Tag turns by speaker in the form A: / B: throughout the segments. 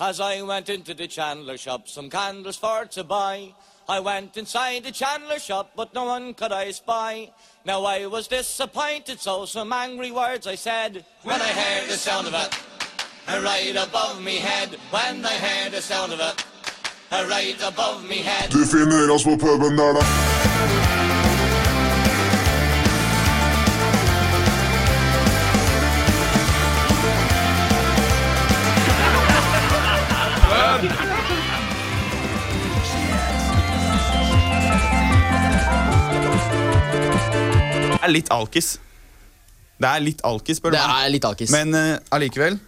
A: As I went into the chandler shop, some candles for to buy. I went inside the chandler shop, but no one could I spy. Now I was disappointed, so some angry words I said. When I heard the sound of it, uh, right above me head. When I heard the sound of it, uh, right above me head.
B: Du finner oss på puben der, da.
C: Det er litt alkis. Det er litt alkis, spør du
D: Det
C: meg.
D: er litt alkis.
C: Men eh,
E: Allikevel.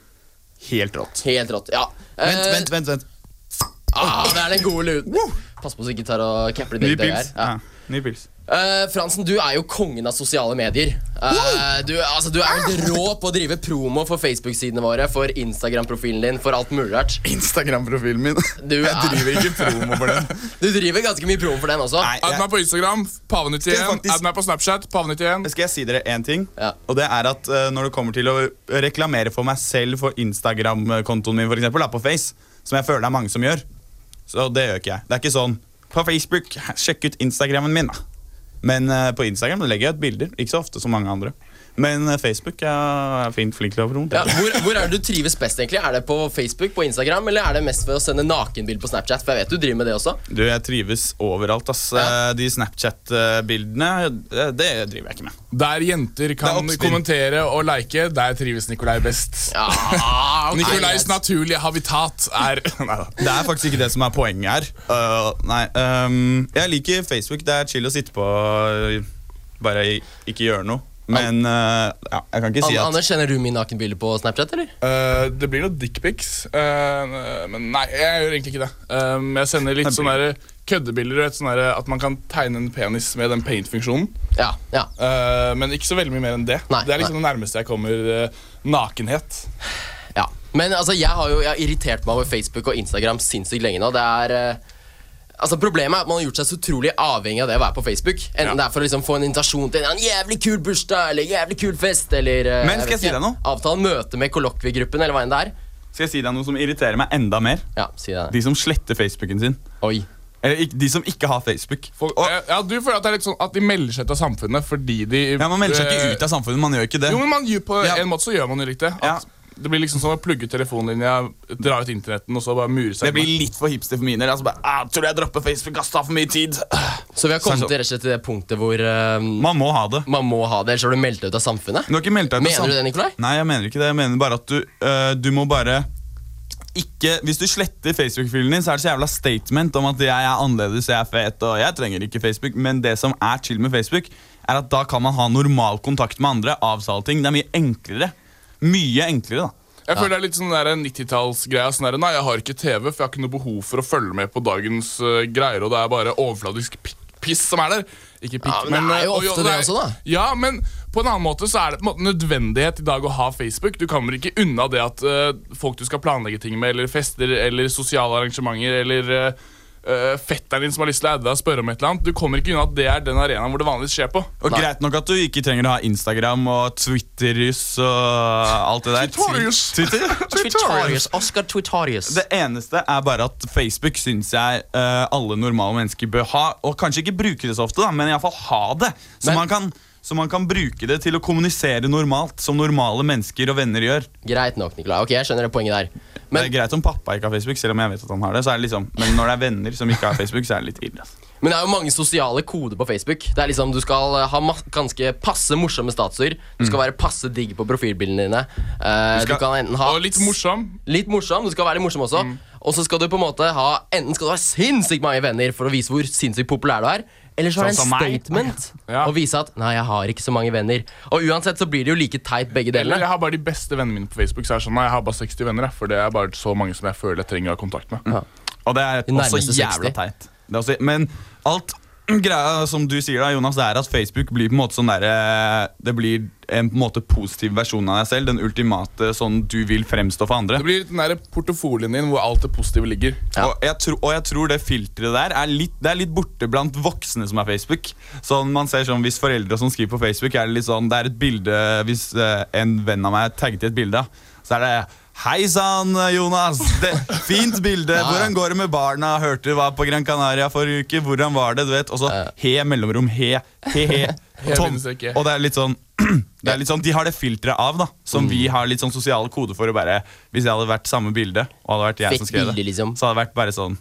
C: helt rått.
D: Helt rått. Ja.
E: Vent,
D: Eh,
E: vent, vent. vent.
D: Ah, det er den gode luten.
C: Woo!
D: Pass på så ikke tar og capper det
C: Ny
D: begge
C: pils.
D: dager.
C: Ja.
D: Ja.
C: Ny pils.
D: Eh, Fransen, du er jo kongen av sosiale medier. Eh, du, altså, du er helt rå på å drive promo for Facebook-sidene våre, for Instagram-profilen din, for alt mulig rart.
E: Instagram-profilen min.
D: Du,
E: jeg
D: er-
E: driver ikke promo for den.
D: Du driver ganske mye promo for den også.
C: Nei,
F: Add
C: jeg,
F: meg på Instagram,
C: Det er
F: paven91.
C: faktisk-
F: Add meg på Snapchat, paven91.
C: skal jeg si dere én ting?
D: Ja.
C: Og det er at eh, Når det kommer til å reklamere for meg selv for Instagram-kontoen min, for eksempel, da, på Face, som jeg føler det er mange som gjør, så det gjør ikke jeg. Det er ikke sånn På Facebook, sjekk ut Instagrammen min, da. Men eh, på Instagram legger jeg ut bilder. Ikke så ofte som mange andre. Men eh, Facebook jeg er fint flink til å
D: Ja,
C: promotere.
D: hvor, hvor er det du trives best? egentlig? Er det på Facebook, på Instagram, eller er det mest ved å sende nakenbilder på Snapchat? For jeg vet du driver med det også.
C: Du, jeg trives overalt, ass.
D: Ja.
C: Eh, De Snapchat-bildene, eh, det, det driver jeg ikke med.
F: Der jenter kan
C: oppspill.
F: kommentere og like, der trives Nikolai best.
D: Ja, Ah,
F: Nikolais naturlige habitat er Neida.
C: Det er faktisk ikke det som er poenget her. Øh, nei, øhm, jeg liker Facebook. Det er chill å sitte på øh, bare i- ikke gjøre noe. Men øh, ja, jeg kan ikke si
D: An
C: at
D: Anders, kjenner du mine nakenbilder på Snapchat, eller?
F: Eh, det blir noen dickpics, eh, men nei, jeg gjør egentlig ikke det. Um, jeg sender litt sånne der køddebilder. du vet, Sånne der at man kan tegne en penis med den paint-funksjonen.
D: Ja, ja.
F: Eh, men ikke så veldig mye mer enn det.
D: Nei,
F: det er liksom det nærmeste jeg kommer eh, nakenhet.
D: Ja. Men altså, jeg har jo jeg har irritert meg over Facebook og Instagram sinnssykt lenge nå. Det er... eh, Altså Problemet er at man har gjort seg så utrolig avhengig av det å være på Facebook. Enten det er for å liksom få en invitasjon til en jævlig kul bursdag eller jævlig kul fest eller eh,
C: Men skal
D: vet
C: jeg si
D: ikke,
C: deg noe?
D: Avtale møte med kollokviegruppen eller hva enn det er.
C: Skal jeg si deg noe som irriterer meg enda mer?
D: Ja, si det.
C: De som sletter Facebooken sin.
D: Oi.
C: Eller ikk- de som ikke har Facebook.
F: Folk,
C: Og,
F: eh, ja, du føler at det er litt sånn at de melder seg ut av samfunnet fordi de eh,
C: ja, man melder seg ikke ut av samfunnet. Man gjør ikke det.
F: Øh. Jo, men man, gjør- på
C: Ja.
F: en måte så gjør man jo litt det. At Det blir liksom som å plugge ut telefonlinja, dra ut internetten og så bare mure seg
C: Det blir litt for hipster for min del. Altså bare, ah, tror jeg dropper Facebook, ass, tar for mye tid.
D: Så vi har kommet
C: Sånn, sånn.
D: til, rett og slett til det punktet hvor eh,
C: Man må ha det.
D: man må ha det, ellers har du meldt deg ut av samfunnet?
C: Du har ikke meldt deg ut.
D: Mener du det, Nikolai?
C: Nei, jeg mener ikke det. Jeg mener bare at du, øh, du må bare ikke Hvis du sletter Facebook-filen din, så er det så jævla statement om at jeg er annerledes, jeg er fet og jeg trenger ikke Facebook. Men det som er chill med Facebook, er at da kan man ha normal kontakt med andre. Avsale ting. Det er mye enklere. Mye enklere, da.
F: Jeg føler det er litt sånn der 90-tallsgreia. Sånn der, nei, jeg har ikke TV, for jeg har ikke noe behov for å følge med på dagens eh, greier, og det er bare overfladisk pi- piss som er der. Ikke pikk,
D: Ja, men det er jo
F: eh, og
D: ofte det
F: er-
D: også, da.
F: Ja, men på en annen måte så er det på en måte nødvendighet i dag å ha Facebook. Du kommer ikke unna det at eh, folk du skal planlegge ting med, eller fester, eller sosiale arrangementer, eller eh, eh, fetteren din som har lyst til å adde deg og spørre om et eller annet. Du kommer ikke unna at det er den arenaen hvor det vanligvis skjer på.
C: Og Greit nok at du ikke trenger å ha Instagram og Twitterus og alt det der.
F: Twitterius.
C: Twitter?
D: Twitarius, Oscar Twitarius.
C: Det eneste er bare at Facebook syns jeg eh, alle normale mennesker bør ha. Og kanskje ikke bruke det så ofte, da, men iallfall ha det. Så,
D: Men-
C: man kan, så man kan bruke det til å kommunisere normalt, som normale mennesker og venner gjør.
D: Greit nok, Nikolai. Ok, jeg skjønner det poenget der.
C: det
D: Men,
C: er greit om pappa ikke har Facebook, selv om jeg vet at han har det. Så er det liksom, men når det er venner som ikke har Facebook, så er det litt ille. altså. ass.
D: men det er jo mange sosiale koder på Facebook. Det er liksom, Du skal eh, ha mas ganske passe morsomme statuer. Du skal være passe digg på profilbildene dine. Eh,
C: Mm.
D: du,
C: skal-
D: kan enten ha
F: Og litt morsom.
D: Litt morsom, Du skal være litt morsom også.
C: Mm.
D: Og så skal du på en måte ha enten skal du ha sinnssykt mange venner for å vise hvor sinnssykt populær du er. Eller så er det
C: Sånn
D: en
C: som meg.
D: statement
F: Ja.
D: å vise at 'nei, jeg har ikke så mange venner'. Og uansett så blir det jo like teit, begge
F: Eller
D: delene.
F: jeg har bare de beste vennene mine på Facebook. Så er det sånn, nei, jeg har bare 60 venner, jeg, for det er bare så mange som jeg føler jeg trenger å ha kontakt med.
C: Og det er
D: De nærmeste
C: også jævla
D: 60.
C: teit. Det er også, men alt greia som du sier, da, Jonas, det er at Facebook blir på en måte sånn der, eh, Det blir en på en måte positiv versjon av deg selv. Den ultimate sånn du vil fremstå for andre.
F: Det blir den der portefolien din hvor alt det positive ligger.
C: Og, jeg tro, og jeg tror det filteret der er litt, det er litt borte blant voksne som er Facebook. Sånn man ser sånn Hvis foreldre som skriver på Facebook, er det litt sånn Det er et bilde Hvis eh, en venn av meg tagget i et bilde, så er det Hei sann, Jonas! Det, fint bilde. Hvordan går det med barna? Hørte du var på Gran Canaria forrige uke. Hvordan var det? du vet? Og så he mellomrom, he, he, he.
F: He
C: Tom.
F: bindestrek, he.
C: Og det er litt sånn det er litt sånn, De har det filteret av, da som
D: Mm.
C: vi har litt sånn sosiale koder for. å bare Hvis jeg hadde vært samme bilde, og hadde vært jeg
D: Fett
C: som skrev det,
D: bilde, liksom.
C: så hadde det vært bare sånn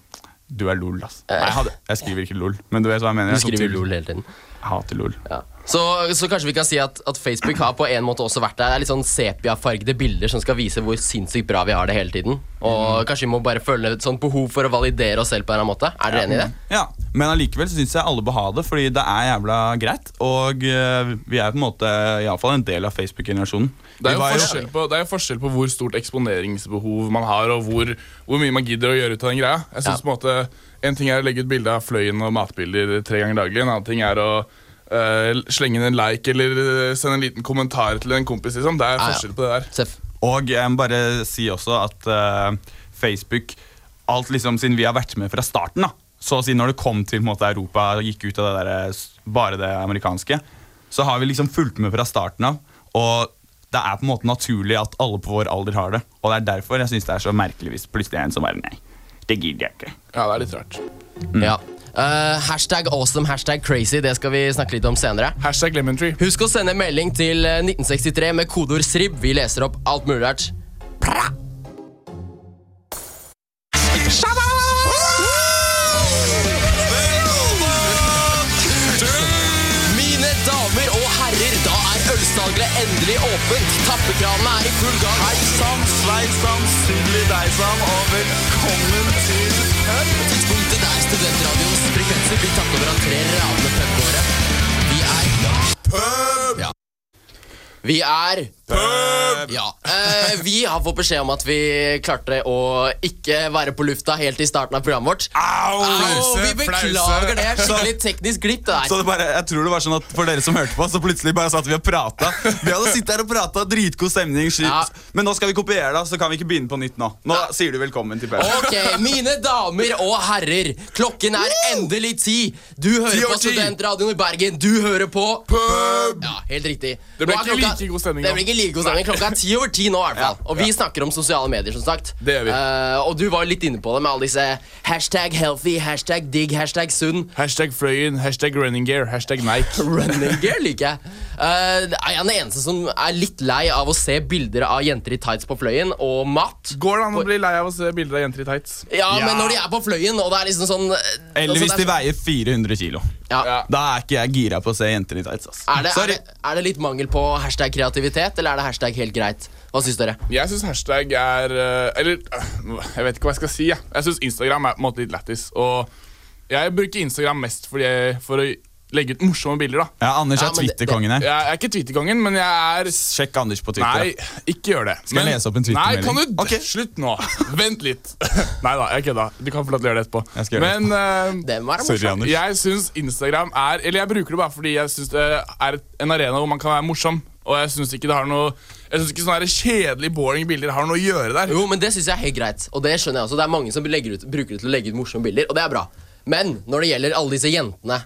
C: Du er lol, ass. Nei, jeg, hadde, jeg skriver ikke lol, men du vet hva jeg mener. jeg
D: Eh. Du
C: er sånn
D: skriver
C: typisk-
D: LOL hele tiden.
C: Jeg hater lol.
D: Ja. Så, så kanskje vi kan si at, at Facebook har på en måte også vært der. Det er litt sånn sepiafargede bilder som skal vise hvor sinnssykt bra vi har det hele tiden. Og
F: Mm.
D: kanskje vi må bare føle et sånt behov for å validere oss selv på en eller annen måte. Er dere enig i
F: Mm.
D: det?
C: Ja, Men allikevel syns jeg alle bør ha det, fordi det er jævla greit. Og eh, vi er på en måte iallfall en del av Facebook-generasjonen.
F: Det
C: Vi
F: er, jo
C: var jo-
F: forskjell på, det er jo forskjell på hvor stort eksponeringsbehov man har, og hvor, hvor mye man gidder å gjøre ut av den greia. Jeg synes på En måte En ting er å legge ut bilde av fløyen og matbilder tre ganger daglig. En annen ting er å eh, slenge inn en like eller eh, sende en liten kommentar til en kompis. Liksom. Det er
D: ja.
F: forskjell på det der.
D: Seff.
C: Og jeg må bare si også at eh, Facebook Alt liksom siden vi har vært med fra starten, da så å si når det kom til på en måte, Europa og gikk ut av det der, eh, s- bare det amerikanske, så har vi liksom fulgt med fra starten av. Og det er på en måte naturlig at alle på vår alder har det. Og det er derfor jeg syns det er så merkelig hvis plutselig er en som bare Nei, det gidder jeg ikke.
F: Ja, det er litt rart. Mm.
D: Ja. Eh, hashtag awesome, hashtag crazy. Det skal vi snakke litt om senere.
F: Hashtag lemon tree.
D: Husk å sende melding til eh, 1963 med kodeord SRIB. Vi leser opp alt mulig rart. Pra! Mine damer og herrer, da er ølsalget endelig åpent. Tappekranene er i full gang. Hei sann, sveisann, sugli deg sann, og velkommen til øl. Tidspunktet der studentradioens frekvenser blir tatt over av tre radende pubgåere. Vi er Pub! Ja. Vi er Pub! Ja. Eh, vi har fått beskjed om at vi klarte å ikke være på lufta helt i starten av programmet vårt.
C: Au!
D: Au, vi beklager det. er Skikkelig teknisk glipp. det
C: Så
D: der
C: det bare, jeg tror det var sånn at For dere som hørte på, så plutselig bare satt vi og prata. Vi hadde sittet her og prata, dritgod stemning. skyt.
D: Ja.
C: Men nå skal vi kopiere, da, så kan vi ikke begynne på nytt nå. Nå sier du velkommen til Per.
D: Ok, mine damer og herrer. Klokken er endelig ti. Du hører
C: over
D: på
C: ti.
D: Studentradioen i Bergen. Du hører på Pub! Ja, helt riktig.
F: Det ble
D: Nå er
F: ikke like god stemning
D: Det
F: nå.
D: ble ikke like god stemning. Klokka er ti over ti nå, i hvert fall. Og vi snakker om sosiale medier, som sagt.
F: Det gjør vi.
D: Eh, og du var jo litt inne på det med alle disse hashtag healthy, hashtag digg, hashtag sunn.
F: Hashtag fløyen, hashtag running gear, hashtag Nike.
D: Running gear liker jeg. Eh, er jeg den eneste som er litt lei av å se bilder av jenter i tights på fløyen og mat?
F: Går det an å bli lei av å se bilder av jenter i tights?
D: Ja,
C: Ja.
D: men når de er på fløyen, og det er liksom sånn eh,
C: Eller
D: altså,
C: hvis de
D: det er,
C: veier 400 kilo.
D: ja.
F: Ja.
C: Da er ikke jeg gira på å se jenter i tights. ass.
D: er, det, er,
C: Sorry.
D: det, er det litt mangel på hashtag kreativitet, eller er det hashtag helt greit? Hva syns dere?
F: Jeg syns hashtag er eh, Eller øh, jeg vet ikke hva jeg skal si. Jeg, jeg syns Instagram er på en måte litt lættis. Og jeg bruker Instagram mest fordi jeg, for å legge ut morsomme bilder. da
C: Ja, Anders
D: Ja,
C: er
D: men det-
C: Twitter-kongen her.
F: Jeg er ikke Twitterkongen, men jeg er
C: Sjekk Anders på
F: Nei,
C: Twitter. da.
F: ikke gjør det.
C: Skal jeg lese opp en Twitter-melding?
F: Nei, kan du d-
C: Ok.
F: Slutt nå. Vent litt. Nei da, jeg kødda. Du kan få lov til å gjøre det etterpå.
C: Jeg skal gjøre det
F: men eh,
D: Den var
C: Sorry,
D: morsom.
C: Anders.
F: Jeg syns Instagram er Eller jeg bruker det bare fordi jeg syns det er et- en arena hvor man kan være morsom. Og jeg syns ikke det har noe Jeg synes ikke sånne her kjedelige, boring bilder har noe å gjøre der.
D: Jo, men det syns jeg er helt greit. Og det skjønner jeg også. Det er mange som legger ut, bruker det til å legge ut morsomme bilder, og det er bra. Men når det gjelder alle disse jentene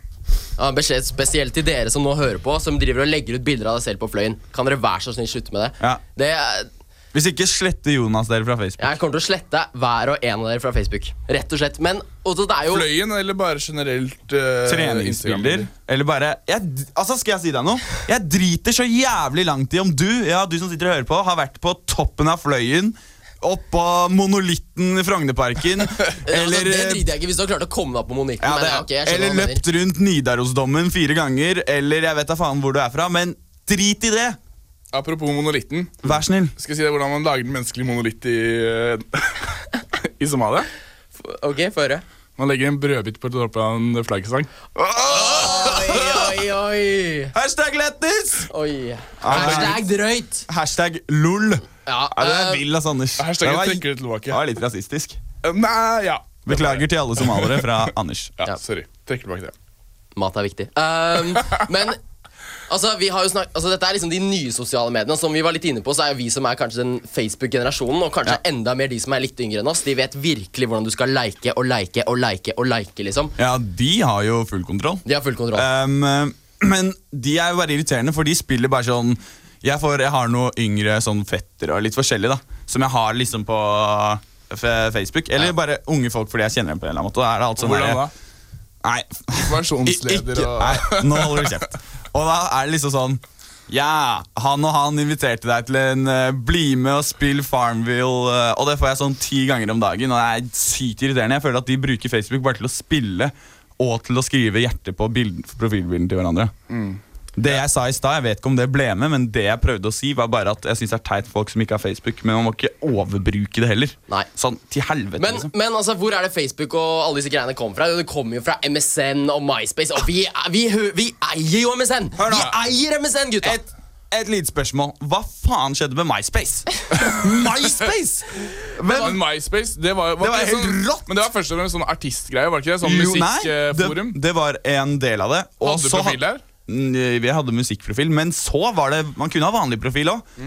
D: ja, Beskjed spesielt til dere som nå hører på, som driver og legger ut bilder av deg selv på fløyen. Kan dere være så snill slutte med det?
C: Ja.
D: det er-
C: Hvis ikke sletter Jonas dere fra Facebook.
D: jeg kommer til å slette hver og en av dere fra Facebook. Rett og slett. Men også, det er jo
F: Fløyen eller bare generelt eh,
C: Treningsbilder.
F: Instagram-bilder?
C: Eller bare jeg, d- Altså, Skal jeg si deg noe? Jeg driter så jævlig langt i om du ja, du som sitter og hører på, har vært på toppen av fløyen, oppå monolitten i Frognerparken,
D: altså,
C: eller eh,
D: Det driter jeg ikke hvis du har klart å komme deg opp på monitten.
C: ja,
D: men
C: det,
D: ja, ok, jeg skjønner
C: Eller
D: hva du mener.
C: løpt rundt Nidarosdommen fire ganger, eller jeg vet da faen hvor du er fra, men drit i det!
F: Apropos monolitten.
C: Vær snill.
F: Skal jeg si deg hvordan man lager den menneskelige monolitt i, eh, i Somalia?
D: Ok, få høre.
F: Man legger en brødbit på toppen av en flaggstang.
D: Oi, oi, oi.
C: Hashtag lettis!
D: oi. Hashtag drøyt.
C: Hashtag lol.
D: Ja,
C: Ja, du er
D: eh,
C: vill, ass, Anders.
F: Hashtag
C: Det var-
F: jeg trekker det tilbake.
C: det var litt rasistisk.
F: Eh, Nei, ja.
C: Beklager til alle somaliere fra Anders.
F: ja. Sorry. Trekker tilbake det.
D: Mat er viktig. Ehm, men altså, vi har jo snak altså, dette er liksom de nye sosiale mediene. Som vi var litt inne på, så er jo vi som er kanskje den Facebook-generasjonen, og kanskje enda mer de som er litt yngre enn oss, de vet virkelig hvordan du skal like og like og like og like, liksom.
C: Ja, de har jo full kontroll.
D: De har full kontroll.
C: Um, men de er jo bare irriterende, for de spiller bare sånn Jeg, får, jeg har noe yngre sånn fetter og litt forskjellig, da. som jeg har liksom på f- Facebook. Eller bare unge folk fordi jeg kjenner dem på en eller annen måte. Da er det alt sånn
F: Hvordan da?
C: der- Nei,
E: Versjonsleder
C: ikke,
E: og
C: Nei, nå holder du kjeft. Og da er det liksom sånn Ja, han og han inviterte deg til en eh, Bli med og spill Farmville. eh, og det får jeg sånn ti ganger om dagen, og det er sykt irriterende. Jeg føler at de bruker Facebook bare til å spille og til å skrive hjerte på bild, profilbilden til hverandre. Det jeg sa i stad, jeg vet ikke om det ble med, men det jeg prøvde å si, var bare at jeg syns det er teit folk som ikke har Facebook, men man må ikke overbruke det heller.
D: Nei.
C: Sånn til helvete,
D: Men,
C: liksom.
D: men altså, hvor er det Facebook og alle disse greiene kommer fra? Jo, Det kommer jo fra MSN og MySpace. Og vi, er- vi, hø- vi eier jo MSN!
C: Hør
D: Vi
C: da.
D: eier MSN, gutta!
C: Et, et lite spørsmål. Hva faen skjedde med MySpace? MySpace!
F: Men MySpace, det var, jo- var
C: Det var
F: ikke
C: helt
F: sånn,
C: rått!
F: Men det var først og fremst sånn artistgreie, var det ikke det? Sånn
C: Jo, nei,
F: musikkforum.
C: det, det var en del av det. og
F: Hadde du
C: så ha-
F: profil der?
C: Nei, Vi hadde musikkprofil, men så var det Man kunne ha vanlig profil òg.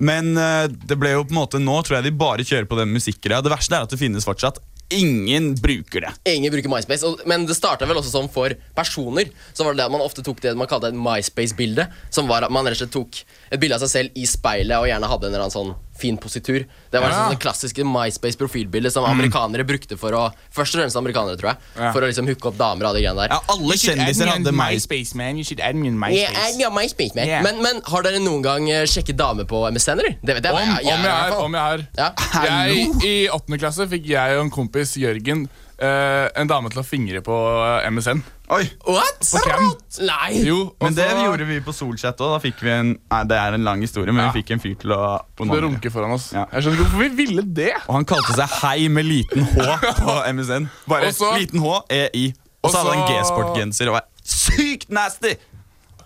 C: Men eh, det ble jo på en måte nå tror jeg de bare kjører på den musikkgreia. Det verste er at det finnes fortsatt. Ingen bruker det.
D: Ingen bruker MySpace. Og, men det starta vel også sånn for personer. Så var det det at man ofte tok det man kalte et MySpace-bilde. Som var at man rett og slett tok et bilde av seg selv i speilet og gjerne hadde en eller annen sånn fin positur. Det var
F: Ja. Mm.
D: sånn det klassiske MySpace-profilbildet som amerikanere brukte for å Først og fremst amerikanere, tror jeg. For å liksom hooke opp damer og de greiene der.
C: Ja, alle kjendiser hadde MySpace.
F: man. You should admin
D: Yeah, I got MySpace, man.
F: Yeah.
D: Men, men har dere noen gang eh, sjekket dame på MSN, eller? Det vet jeg.
F: Om,
D: jeg,
F: om jeg er, om jeg er.
D: Ja.
F: Jeg, I åttende klasse fikk jeg og en kompis, Jørgen, eh, en dame til å fingre på eh, MSN.
C: Oi.
D: What?
F: hvem?
D: Nei!
F: Jo, og
C: Men det
F: så-
C: gjorde vi på Solchat òg. Da fikk vi en Nei, det er en lang historie, men
F: Ja.
C: vi fikk en fyr til å
F: Det
C: onanere.
F: runker foran oss.
C: Ja.
F: Jeg skjønner ikke hvorfor vi ville det.
C: Og han kalte seg Hei med liten H på MSN. Bare
F: Og så-
C: liten H, EI. Og
F: Og
C: så hadde han
F: så-
C: G-sport-genser og var sykt nasty!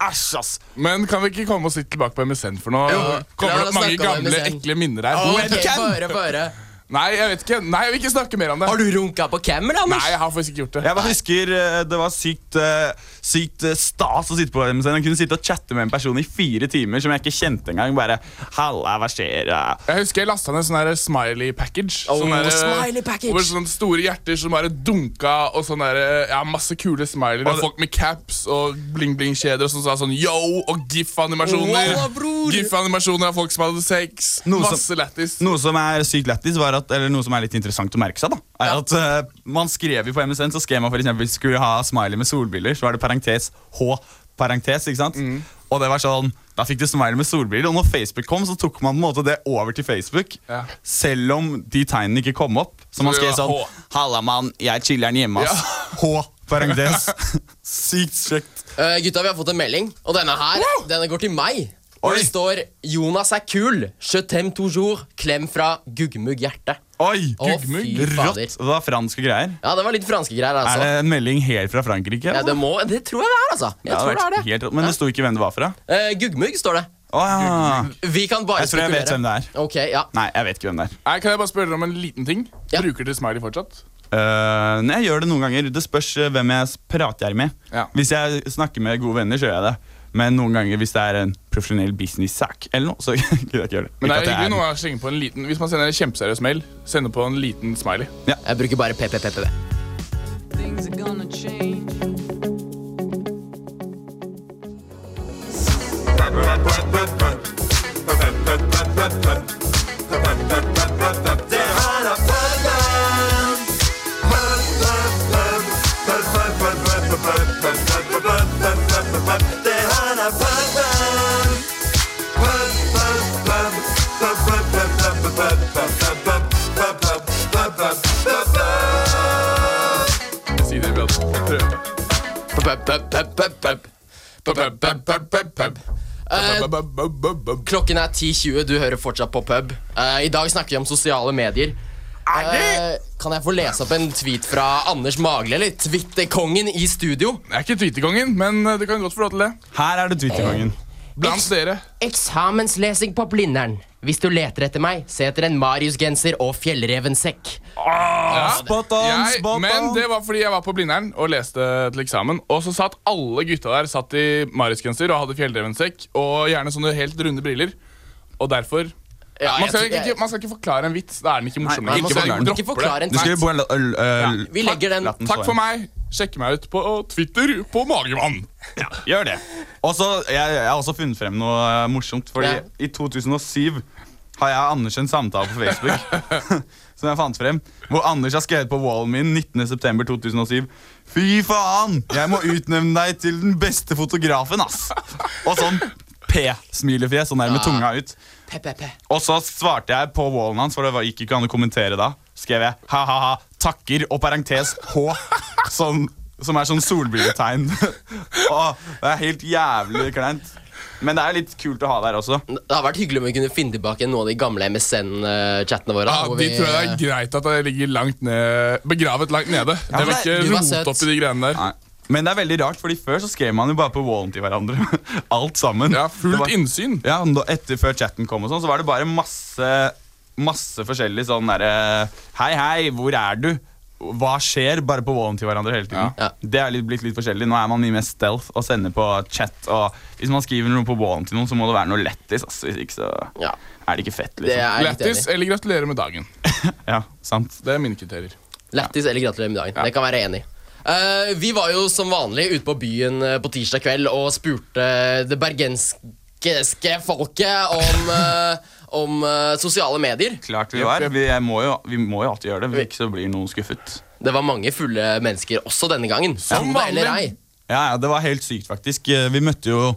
C: Æsj, ass!
F: Men kan vi ikke komme oss litt tilbake på MSN for nå?
D: Jo, la
F: Kommer
D: oss
F: det opp mange
D: snakke om
F: gamle,
D: MSN.
F: ekle minner her?
D: Ok,
C: Webcam!
D: få høre, få høre.
F: Nei, jeg vet ikke. Nei, jeg vil ikke snakke mer om det.
D: Har du runka på cam, eller, Anders?
F: Nei, jeg har faktisk ikke gjort det.
C: Jeg bare husker eh, Det var sykt, eh, sykt eh, stas å sitte på MSN. Jeg kunne sitte og chatte med en person i fire timer som jeg ikke kjente engang. Bare, Halla, hva skjer? eh?»
F: Jeg husker jeg lasta ned en sånn her smiley package.
D: Oh,
F: sånn her,
D: smiley package.
F: Hvor sånne store hjerter som bare dunka, og sånn der, ja, masse kule smileyer. Og
C: det-
F: folk med caps og bling-bling-kjeder som sa sånn yo, og gif-animasjoner.
D: Wow, bror.
F: Gif-animasjoner av folk som hadde sex.
C: Noe som-
F: masse lættis.
C: Noe som er sykt lættis, var at- eller noe som er litt interessant å merke seg, da, er
D: Ja.
C: at eh, man skrev jo på MSN, så skrev man for eksempel skulle ha smiley med solbriller, så var det parentes H, parentes, ikke sant?
D: Mm.
C: Og det var sånn, da fikk du smiley med solbriller, og når Facebook kom, så tok man på en måte det over til Facebook,
F: Ja.
C: selv om de tegnene ikke kom opp. Så man
F: det
C: skrev
F: var
C: sånn,
F: H.
C: halla mann, jeg chiller'n hjemme, ass. H, parentes. sykt kjekt.
D: Eh, gutta, vi har fått en melding, og denne her denne går til meg. Og
C: Oi.
D: det står 'Jonas er kul. Je t'aime toujours. Klem fra Guggmugg hjerte'.
C: Oi,
D: Å,
C: guggmugg.
D: fy fader.
C: Rått. Det var franske greier.
D: Ja, det var litt franske greier,
C: Er
D: altså.
C: det en melding helt fra Frankrike?
D: Ja,
C: eller?
D: det, må, det tror jeg det er, altså. Jeg
C: Ja,
D: tror
C: det hadde
D: det er
C: vært
D: det.
C: helt rått, Men det sto ikke hvem det var fra.
D: Eh, Guggmugg står det.
C: Å, ja.
D: Vi kan bare
C: Jeg tror jeg vet
D: spekulere.
C: hvem det er.
D: Ok, ja.
C: Nei, jeg vet ikke hvem det er.
F: Nei, kan jeg bare spørre dere om en liten ting?
D: Ja.
F: Bruker dere smiley fortsatt?
C: Øh, nei, jeg gjør det noen ganger. Det spørs øh, hvem jeg s- prater med.
F: Ja.
C: Hvis jeg snakker med gode venner, så gjør jeg det. Men noen ganger hvis det er en profesjonell business-sak eller noe, så gidder jeg ikke gjøre det.
F: Men det
C: Ikke
F: er
C: at jeg
F: hyggelig
C: er-
F: noen ganger å slenge på en liten Hvis man sender en kjempeseriøs mail, sender på en liten smiley.
D: Jeg bruker bare PPPPV.
G: Things are gonna change.
F: Si det, Beate. Prøv.
D: Klokken er 10.20, du hører fortsatt på pub. Eh, I dag snakker vi om sosiale medier. Eh, kan jeg få lese opp en tweet fra Anders Magle, eller Twitterkongen i studio?
F: Jeg er ikke tweetekongen, men eh, du kan godt få lov til det.
C: Her er det Twitter-gangen.
F: Blant dere.
D: Eksamenslesing på Blindern. Hvis du leter etter meg, se etter en Marius-genser og fjellrevensekk.
F: Ja.
C: Spot on,
F: Jeg,
C: spot
F: men
C: on.
F: det var fordi jeg var på Blindern og leste til eksamen. Og så satt alle gutta der satt i Marius-genser og hadde fjelldrevensekk og gjerne sånne helt runde briller. Og derfor
D: Ja,
F: man,
D: jeg
F: skal
D: tror-
F: ikke, man skal ikke forklare en vits. Da er den ikke morsom.
C: Nei,
F: lenger.
C: man
F: Så
C: skal
F: jeg
C: ikke
F: dropper det.
D: forklare en
C: Du skal
D: Nei.
C: jo bare la- øl... øl
D: Vi legger den
C: latten
F: Takk
C: stå
F: for
C: igjen.
F: meg. Sjekk meg ut på Twitter på Magemann.
C: eh, Gjør det. Og så, jeg, jeg har også funnet frem noe øh, morsomt. Fordi
D: Ja.
C: i 2007 har jeg og Anders en samtale på Facebook. som jeg fant frem Hvor Anders har skrevet på wallen min 19.9.2007 Fy faen! Jeg må utnevne deg til den beste fotografen, ass! Og sånn P-smilefjes, sånn der med tunga ut. Og så svarte jeg på wallen hans, for det var- gikk ikke an å kommentere da. Skrev jeg ha-ha-ha, takker og parentes H. Sånn, som er sånn solbrilletegn. Åh, det er helt jævlig kleint. Men det er litt kult å ha der også.
D: Det hadde vært hyggelig om vi kunne finne tilbake noen av de gamle MSN-chattene våre.
F: Ja,
D: hvor
F: Ah, De
D: vi-
F: tror jeg det er greit at det ligger langt ned, begravet langt nede. Det
D: men
F: vil ikke
D: du var søt.
F: rote opp i de greiene der.
C: Nei. Men det er veldig rart, fordi før så skrev man jo bare på wallen til hverandre. Alt sammen.
F: Ja,
C: Det
F: Fullt
C: var-
F: innsyn.
C: Ja, men da, etter Før chatten kom, og sånn, så var det bare masse Masse forskjellig sånn derre Hei, hei, hvor er du? Hva skjer? Bare på wallen til hverandre hele tiden.
D: Ja.
C: Det er litt, blitt litt forskjellig. Nå er man mye mer stealth og sender på chat. Og hvis man skriver noe på wallen til noen, så må det være noe lettis. Altså. Hvis ikke så
D: Ja.
C: er det ikke fett.
D: Det
C: liksom.
D: er jeg litt enig
F: Lættis
D: i.
F: eller gratulerer med dagen.
C: Ja, sant.
F: Det er mine kriterier.
D: Lættis eller gratulerer med dagen. Det kan jeg være enig i. Eh, vi var jo som vanlig ute på byen eh, på tirsdag kveld og spurte det bergenske folket om, eh, om eh, sosiale medier.
C: Klart vi var. Vi må jo, vi må jo alltid gjøre det. Hvis ikke så blir noen skuffet.
D: Det var mange fulle mennesker også denne gangen.
F: Som
D: Tro det eller
F: vanlig.
D: ei.
C: Ja, ja, det var helt sykt faktisk Eh, Vi møtte jo,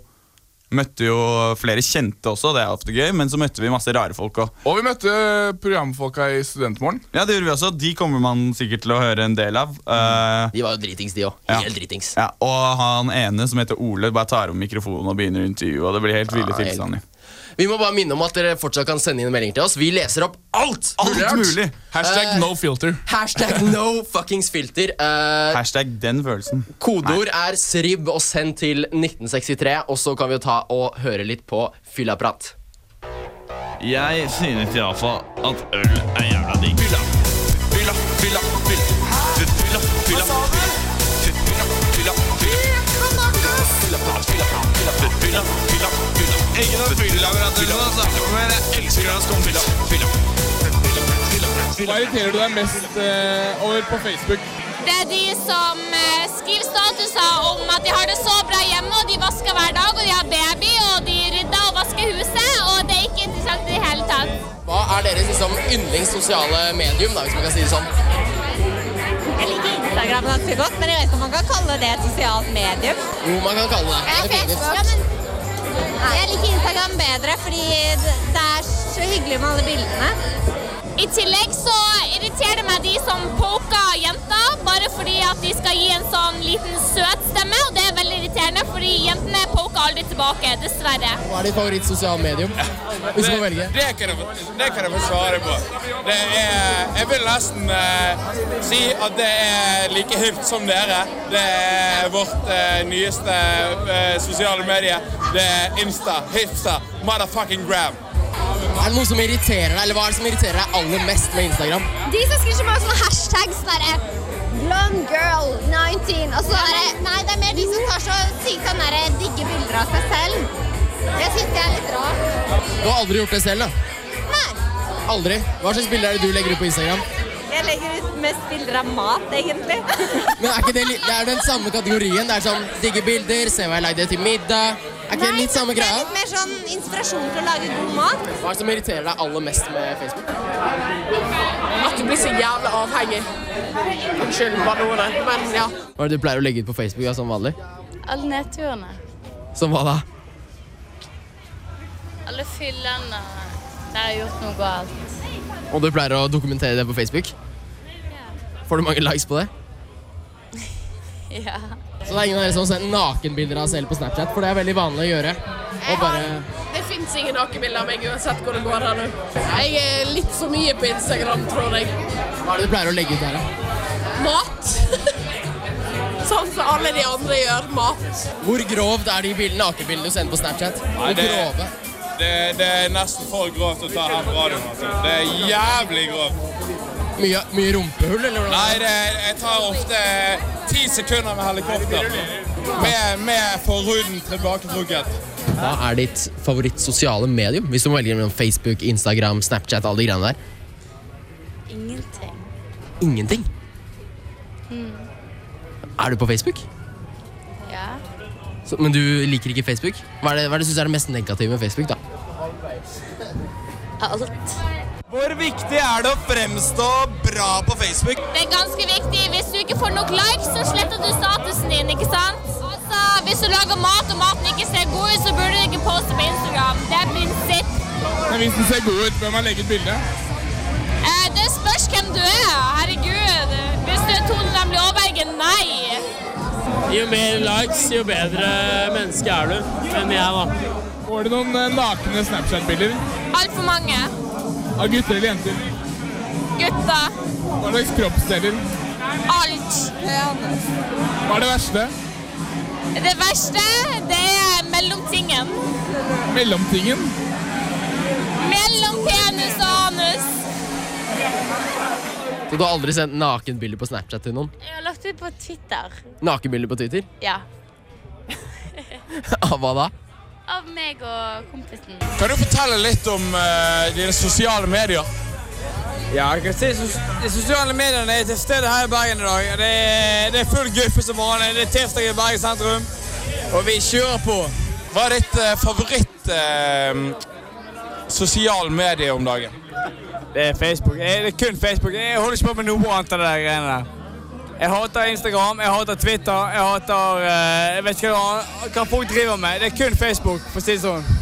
C: møtte jo flere kjente også, det er ofte gøy Men så møtte vi masse rare folk også
F: Og vi møtte programfolka i Studentmorgen.
C: Ja, det gjorde vi også, de kommer man sikkert til å høre en del av Eh,
D: De var jo dritings, de òg.
C: Ja.
D: Helt dritings.
C: ja, Og han ene som heter Ole bare tar om mikrofonen og begynner å intervjue Og det blir helt ville
D: Ja, helt-
C: tilstander
D: Vi må bare minne om at dere fortsatt kan sende inn meldinger til oss. Vi leser opp alt! mulig
C: Alt
D: rart.
C: mulig
F: Hashtag no filter.
D: Hashtag no fuckings filter. Eh,
C: Hashtag den følelsen
D: kodeord er srib og send til 1963, og så kan vi jo ta og høre litt på fyllaprat.
H: Jeg synes iallfall at øl er jævla digg. Fylla, fylla, fylla, fylla. Fylla, fylla, fylla. Fylla, fylla, fylla. Fylla, fylla, fylla. Fylla, fylla, fylla. Ikke noe fyllelaboratorium, altså. Men jeg elsker å komme fylla. Fylla.
F: Hva irriterer du deg mest eh, over på Facebook?
I: Det er de som eh, skriver statuser om at de har det så bra hjemme, og de vasker hver dag, og de har baby, og de rydder og vasker huset, og det er ikke interessant i det hele tatt.
D: Hva er deres liksom, yndlings sosiale medium, da, hvis man kan si det sånn?
I: Jeg liker Instagram ganske godt, men jeg vet ikke om man kan kalle det et sosialt medium.
D: Jo, man kan kalle det det.
I: jeg liker Instagram bedre, fordi det er så hyggelig med alle bildene. I tillegg så irriterer det meg de som poker jenter, bare fordi at de skal gi en sånn liten søt stemme, og det er veldig irriterende, fordi jentene poker aldri tilbake, dessverre.
D: Hva er ditt favoritt sosiale medium? Hvis du må velge.
H: Det kan jeg, det kan jeg få svare på. Det er, jeg vil nesten eh, si at det er like hipt som dere. Det er vårt eh, nyeste eh, sosiale medie. Det er Insta, hipster, motherfucking gram.
D: Er det noe som irriterer deg, eller hva er det som irriterer deg aller mest med Instagram?
I: De som skriver så mange sånne hashtags sånn derre Blonde girl 19 og så derre Nei, det er mer de som tar så sykt sånn derre digge bilder av seg selv. Det syns jeg er litt rart.
D: Du har aldri gjort det selv, da?
I: Nei.
D: Aldri? Hva slags bilder er det du legger ut på Instagram?
I: Jeg legger ut mest bilder av mat, egentlig.
D: Men er ikke det, li- det er den samme kategorien. Det er sånn digge bilder, se hva jeg lagde til middag. Er ikke det litt samme greia?
I: mer sånn inspirasjon til å lage god mat.
D: Hva er det som irriterer deg aller mest med Facebook?
J: At du blir så jævlig avhengig. Unnskyld banordene, men ja.
D: Hva er det du pleier å legge ut på Facebook da, som vanlig?
I: Alle nedturene.
D: Som hva da?
I: Alle fyllene der jeg har gjort noe galt.
D: Og du pleier å dokumentere det på Facebook? Får du mange likes på det?
I: Ja.
D: Så det er ingen av dere som sender nakenbilder av seg selv på Snapchat, for det er veldig vanlig å gjøre. Og bare...
J: Det fins ingen nakenbilder av meg uansett hvor det går her nå. Jeg er litt for mye på Instagram, tror jeg.
D: Hva er det du pleier å legge ut der, da?
J: Mat. Sånn som alle de andre gjør. Mat.
D: Hvor grovt er de bildene, nakenbildene du sender på Snapchat? Hvor
H: det-
D: grove?
H: Det, det er nesten for grovt å ta her på radioen. Altså. Det er jævlig grovt.
D: Mye, mye rumpehull, eller hvordan?
H: Nei, det, jeg tar ofte
F: eh,
H: ti sekunder med helikopter. Med, med forhuden tilbaketrukket.
D: Hva er ditt favoritt sosiale medium? Hvis du må velge mellom Facebook, Instagram, Snapchat, alle de greiene der.
I: Ingenting. Hmm.
D: Ingenting. Er du på Facebook?
I: Ja.
D: Så, men du liker ikke Facebook? Hva er det, hva er det du synes er det mest negative med Facebook, da?
I: alt.
C: Hvor viktig er det å fremstå bra på Facebook?
I: Det er ganske viktig. Hvis du ikke får nok likes, så sletter du statusen din, ikke sant? Altså, hvis du lager mat og maten ikke ser god ut, så burde du ikke poste på Instagram. Det er prinsipp.
F: Men hvis den ser god ut, bør man legge ut bilde?
I: Eh, det spørs hvem du er. Herregud. Hvis du er Tone Nemlig Aabergen, nei.
K: Jo mer likes, jo bedre menneske er du. Enn jeg, da.
F: Får du noen eh, nakne Snapchat-bilder
I: Altfor mange.
F: av gutter eller jenter?
I: Gutter.
F: Hva slags kroppsdeler?
I: Alt.
F: Hva er det verste?
I: Det verste, det er mellomtingen.
F: Mellomtingen?
I: Mellom penis og anus.
D: Så du har aldri sendt nakenbilder på Snapchat til noen?
L: Jeg har lagt ut på Twitter.
D: Nakenbilder på Twitter?
L: Ja.
D: Av hva da?
L: Av meg og kompisen.
M: Kan du fortelle litt om eh, dine sosiale medier?
N: Ja, jeg kan si sos de sosiale mediene er til stede her i Bergen i dag. Det er, det er full guffe som vanlig. Det er tirsdag i Bergen sentrum. Og vi kjører på.
M: Hva er ditt eh, favoritt eh, sosial medie om dagen?
N: Det er Facebook. Jeg, det er kun Facebook. Jeg holder ikke på med noe annet enn det der greiene der. Jeg hater Instagram, jeg hater Twitter, jeg hater eh, Jeg vet ikke hva, hva folk driver med. Det er kun Facebook, for å si det sånn.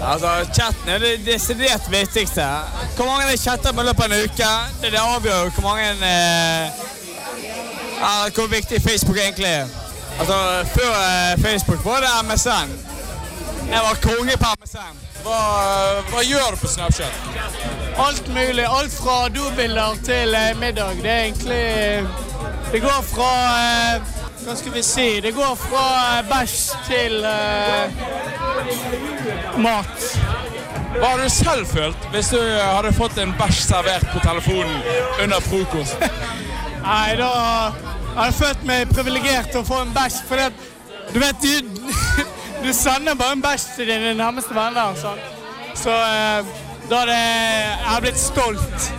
N: Altså, Chatten er det desidert viktigste. Hvor mange vi chatter med i løpet av en uke, det, det avgjør jo hvor mange eh, ja, Hvor viktig Facebook egentlig er. Altså, Før eh, Facebook var det MSN. Jeg var konge på MSN. Hva, hva gjør du på Snapchat?
O: Alt mulig. Alt fra dobilder til eh, middag. Det er egentlig eh, Det går fra eh, Hva skal vi si? Det går fra eh, bæsj til eh, mat.
M: Hva hadde du selv følt hvis du eh, hadde fått en bæsj servert på telefonen under frokost?
O: Nei, da har jeg følt meg privilegert til å få en bæsj, for det, du vet du, du sender bare en bæsj til dine nærmeste venner. sant? Så eh, da hadde jeg jeg hadde blitt stolt.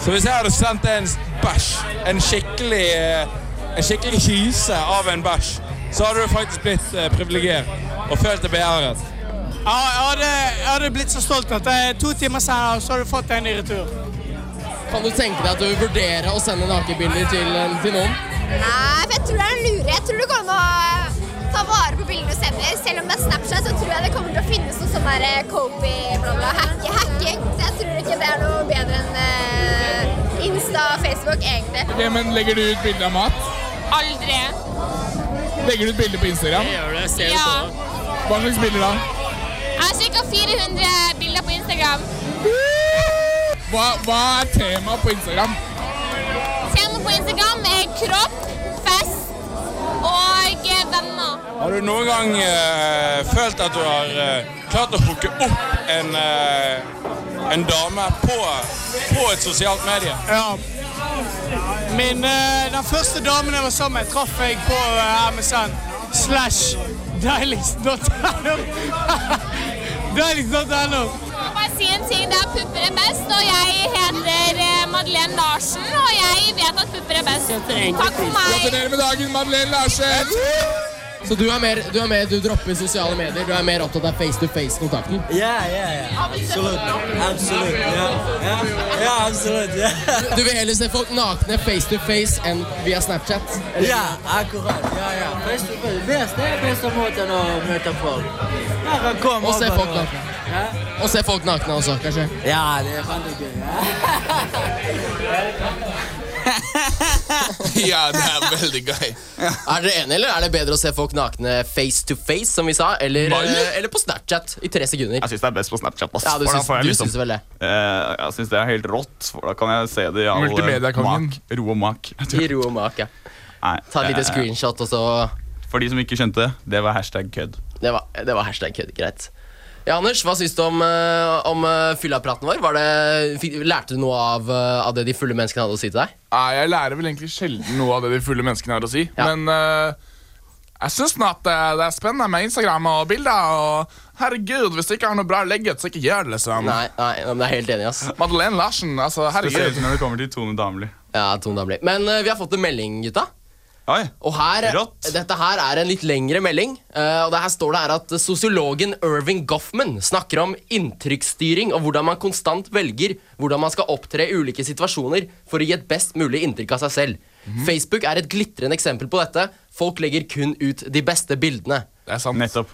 M: Så hvis jeg hadde sendt deg en bæsj, en skikkelig, eh, en skikkelig hyse av en bæsj, så hadde du faktisk blitt eh, privilegert og følt deg beæret.
O: Ja, jeg hadde, jeg hadde blitt så stolt at jeg, to timer senere så hadde du fått en i retur.
D: Kan du tenke deg at du vil vurdere å sende nakenbilder til, eh, til noen?
I: Nei, for jeg tror det er lure. Jeg tror det går an å ta vare på bildene du sender. Selv om det er Snapchat, så tror jeg det kommer til å finnes noe sånn der eh, copy, bla, bla, hacke, hacking. Så jeg tror ikke det er noe bedre enn eh, Insta og Facebook, egentlig.
F: Ok, men Legger du ut bilde av mat?
I: Aldri.
F: Legger du ut bilde på Instagram?
I: Det gjør du, jeg ser det sånn? på deg.
F: Hva slags bilder da?
I: Jeg har ca. 400 bilder på Instagram.
F: Hva, hva er temaet på Instagram?
I: Temaet på Instagram er kropp, fest og eh, venner.
M: Har du noen gang eh, følt at du har eh, klart å hooke opp en, eh, en dame på, på et sosialt medie?
O: Ja. Min, eh, den første damen jeg var sammen med, traff jeg på eh, MSN. Slash deiligst.no. deiligst.no.
I: Jeg må bare si en ting. Det er pupper er best, og jeg heter eh, Madeleine Larsen, og jeg vet at pupper er best. Takk for
K: Altså,
I: meg.
F: Gratulerer med dagen, Madeleine Larsen!
D: Så du er, mer, du er mer, du dropper sosiale medier, du er mer opptatt av face to face-kontakten?
P: Yeah, yeah, yeah. Absolutely. Absolutely. Yeah. Yeah, yeah absolutely. Yeah.
D: Du vil heller se folk nakne face to face enn via Snapchat?
P: Ja, akkurat. Ja, ja. Best, best, det er beste måten å møte folk. Her han kommer
D: Og se
P: over
D: folk
P: nå.
D: nakne.
P: Hæ?
D: Og se folk nakne også, kanskje.
P: Ja, det er veldig gøy.
D: ja, det er veldig gøy. Er dere enige, eller er det bedre å se folk nakne face to face, som vi sa, eller,
C: Nei.
D: eh, eller på Snapchat i tre sekunder?
C: Jeg syns det er best på Snapchat. Ass.
D: Ja, du
C: For da
D: syns-
C: får jeg liksom-
D: du syns vel det?
C: Eh, jeg syns det er helt rått, for da kan jeg se det i all eh,
D: Multimediakongen.
C: mak. Ro og mak.
D: I ro og mak, ja.
C: Nei,
D: Ta et lite
C: det er-
D: screenshot, og så
C: For de som ikke skjønte det, det var hashtag kødd.
D: Det var, det var hashtag kødd, greit. Ja, Anders, hva syns du om, eh, om eh, fyllapraten vår? Var det, fikk, lærte du noe av, eh, av det de fulle menneskene hadde å si til deg?
F: Nei, jeg lærer vel egentlig sjelden noe av det de fulle menneskene har å si. Men eh, jeg syns snart det, det er spennende med Instagram og bilder. Og herregud, hvis du ikke har noe bra legget, så ikke gjør det, liksom.
D: Nei, nei, men jeg er helt enig, ass.
F: Madeleine Larsen, altså, herregud.
C: Spesielt når det kommer til Tone Damli.
D: Ja, Tone Damli. Men eh, vi har fått en melding, gutta. Og her, dette her er en litt lengre melding. eh, og det her står det her at Sosiologen Irving Goffman snakker om inntrykksstyring og hvordan man konstant velger hvordan man skal opptre i ulike situasjoner for å gi et best mulig inntrykk av seg selv.
C: Mhm.
D: Facebook er et glitrende eksempel på dette. Folk legger kun ut de beste bildene.
F: Det er sant.
C: Nettopp.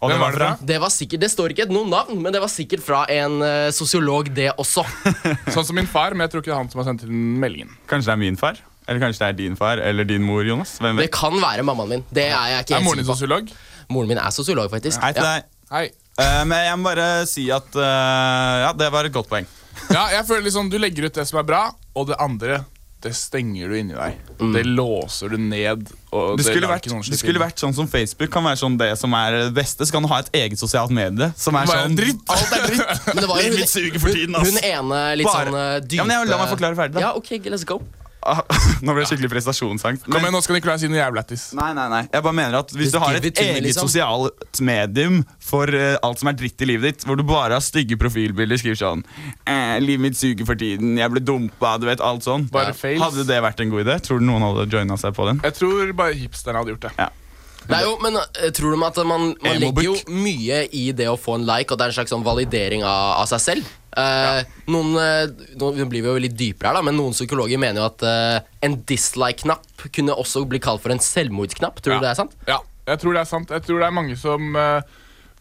D: Og
C: Hvem var det fra?
D: Det var sikkert, det står ikke et noe navn, men det var sikkert fra en eh, sosiolog, det også.
F: Sånn som min far, men jeg tror ikke det er han som har sendt inn meldingen.
C: Kanskje det er min far? Eller kanskje det er din far eller din mor, Jonas? Hvem
D: Det kan være mammaen min. Det er jeg ikke
C: Er
D: helt
C: moren din
D: sikker på. Moren min er sosiolog, faktisk.
C: Hei til
D: Ja.
C: deg. Eh, men jeg må bare si at eh, Ja, det var et godt poeng.
F: Ja, jeg føler liksom Du legger ut det som er bra, og det andre det stenger du inni deg. Det låser du ned. Og
C: Det skulle,
F: lar
C: vært,
F: ikke noen
C: det
F: slippe
C: skulle
F: inn.
C: vært sånn som Facebook kan være sånn det som er det beste. Så kan du ha et eget sosialt medie som er
F: Bare
C: sånn
F: dritt.
C: Alt er dritt.
D: Men det var jo
C: Livet
D: hun,
C: mitt suger for tiden,
D: hun,
C: ass.
D: hun ene litt
C: Bare-
D: sånn eh, dype
C: Ja, men jeg- la meg forklare ferdig, da.
D: Ja, ok, let's go.
C: Ah, Nå ble det skikkelig prestasjonsangst. Kom
F: igjen, nå skal Nicolai si noe jævlig lættis.
C: Nei, nei, nei. Jeg bare mener at Hvis
F: Just
C: du har
F: give
C: et
F: it to me,
C: eget
F: liksom.
C: sosialt medium for eh, alt som er dritt i livet ditt, hvor du bare har stygge profilbilder, skriver sånn eh, 'Livet mitt suger for tiden. Jeg ble dumpa.' Du vet, alt sånn.
F: Bare fails.
C: Hadde det vært en god idé? Tror du noen hadde joina seg på den?
F: Jeg tror bare hipsterne hadde gjort det.
D: Det er jo, men eh, tror du at man, man
F: Emo-book.
D: legger jo mye i det å få en like, og det er en slags sånn validering av, av seg selv? Eh, noen, eh, nå blir vi jo litt dypere her, da, men noen psykologer mener jo at eh, en dislike-knapp kunne også bli kalt for en selvmordsknapp. Tror du det er sant?
F: Ja, jeg tror det er sant. Jeg tror det er mange som eh,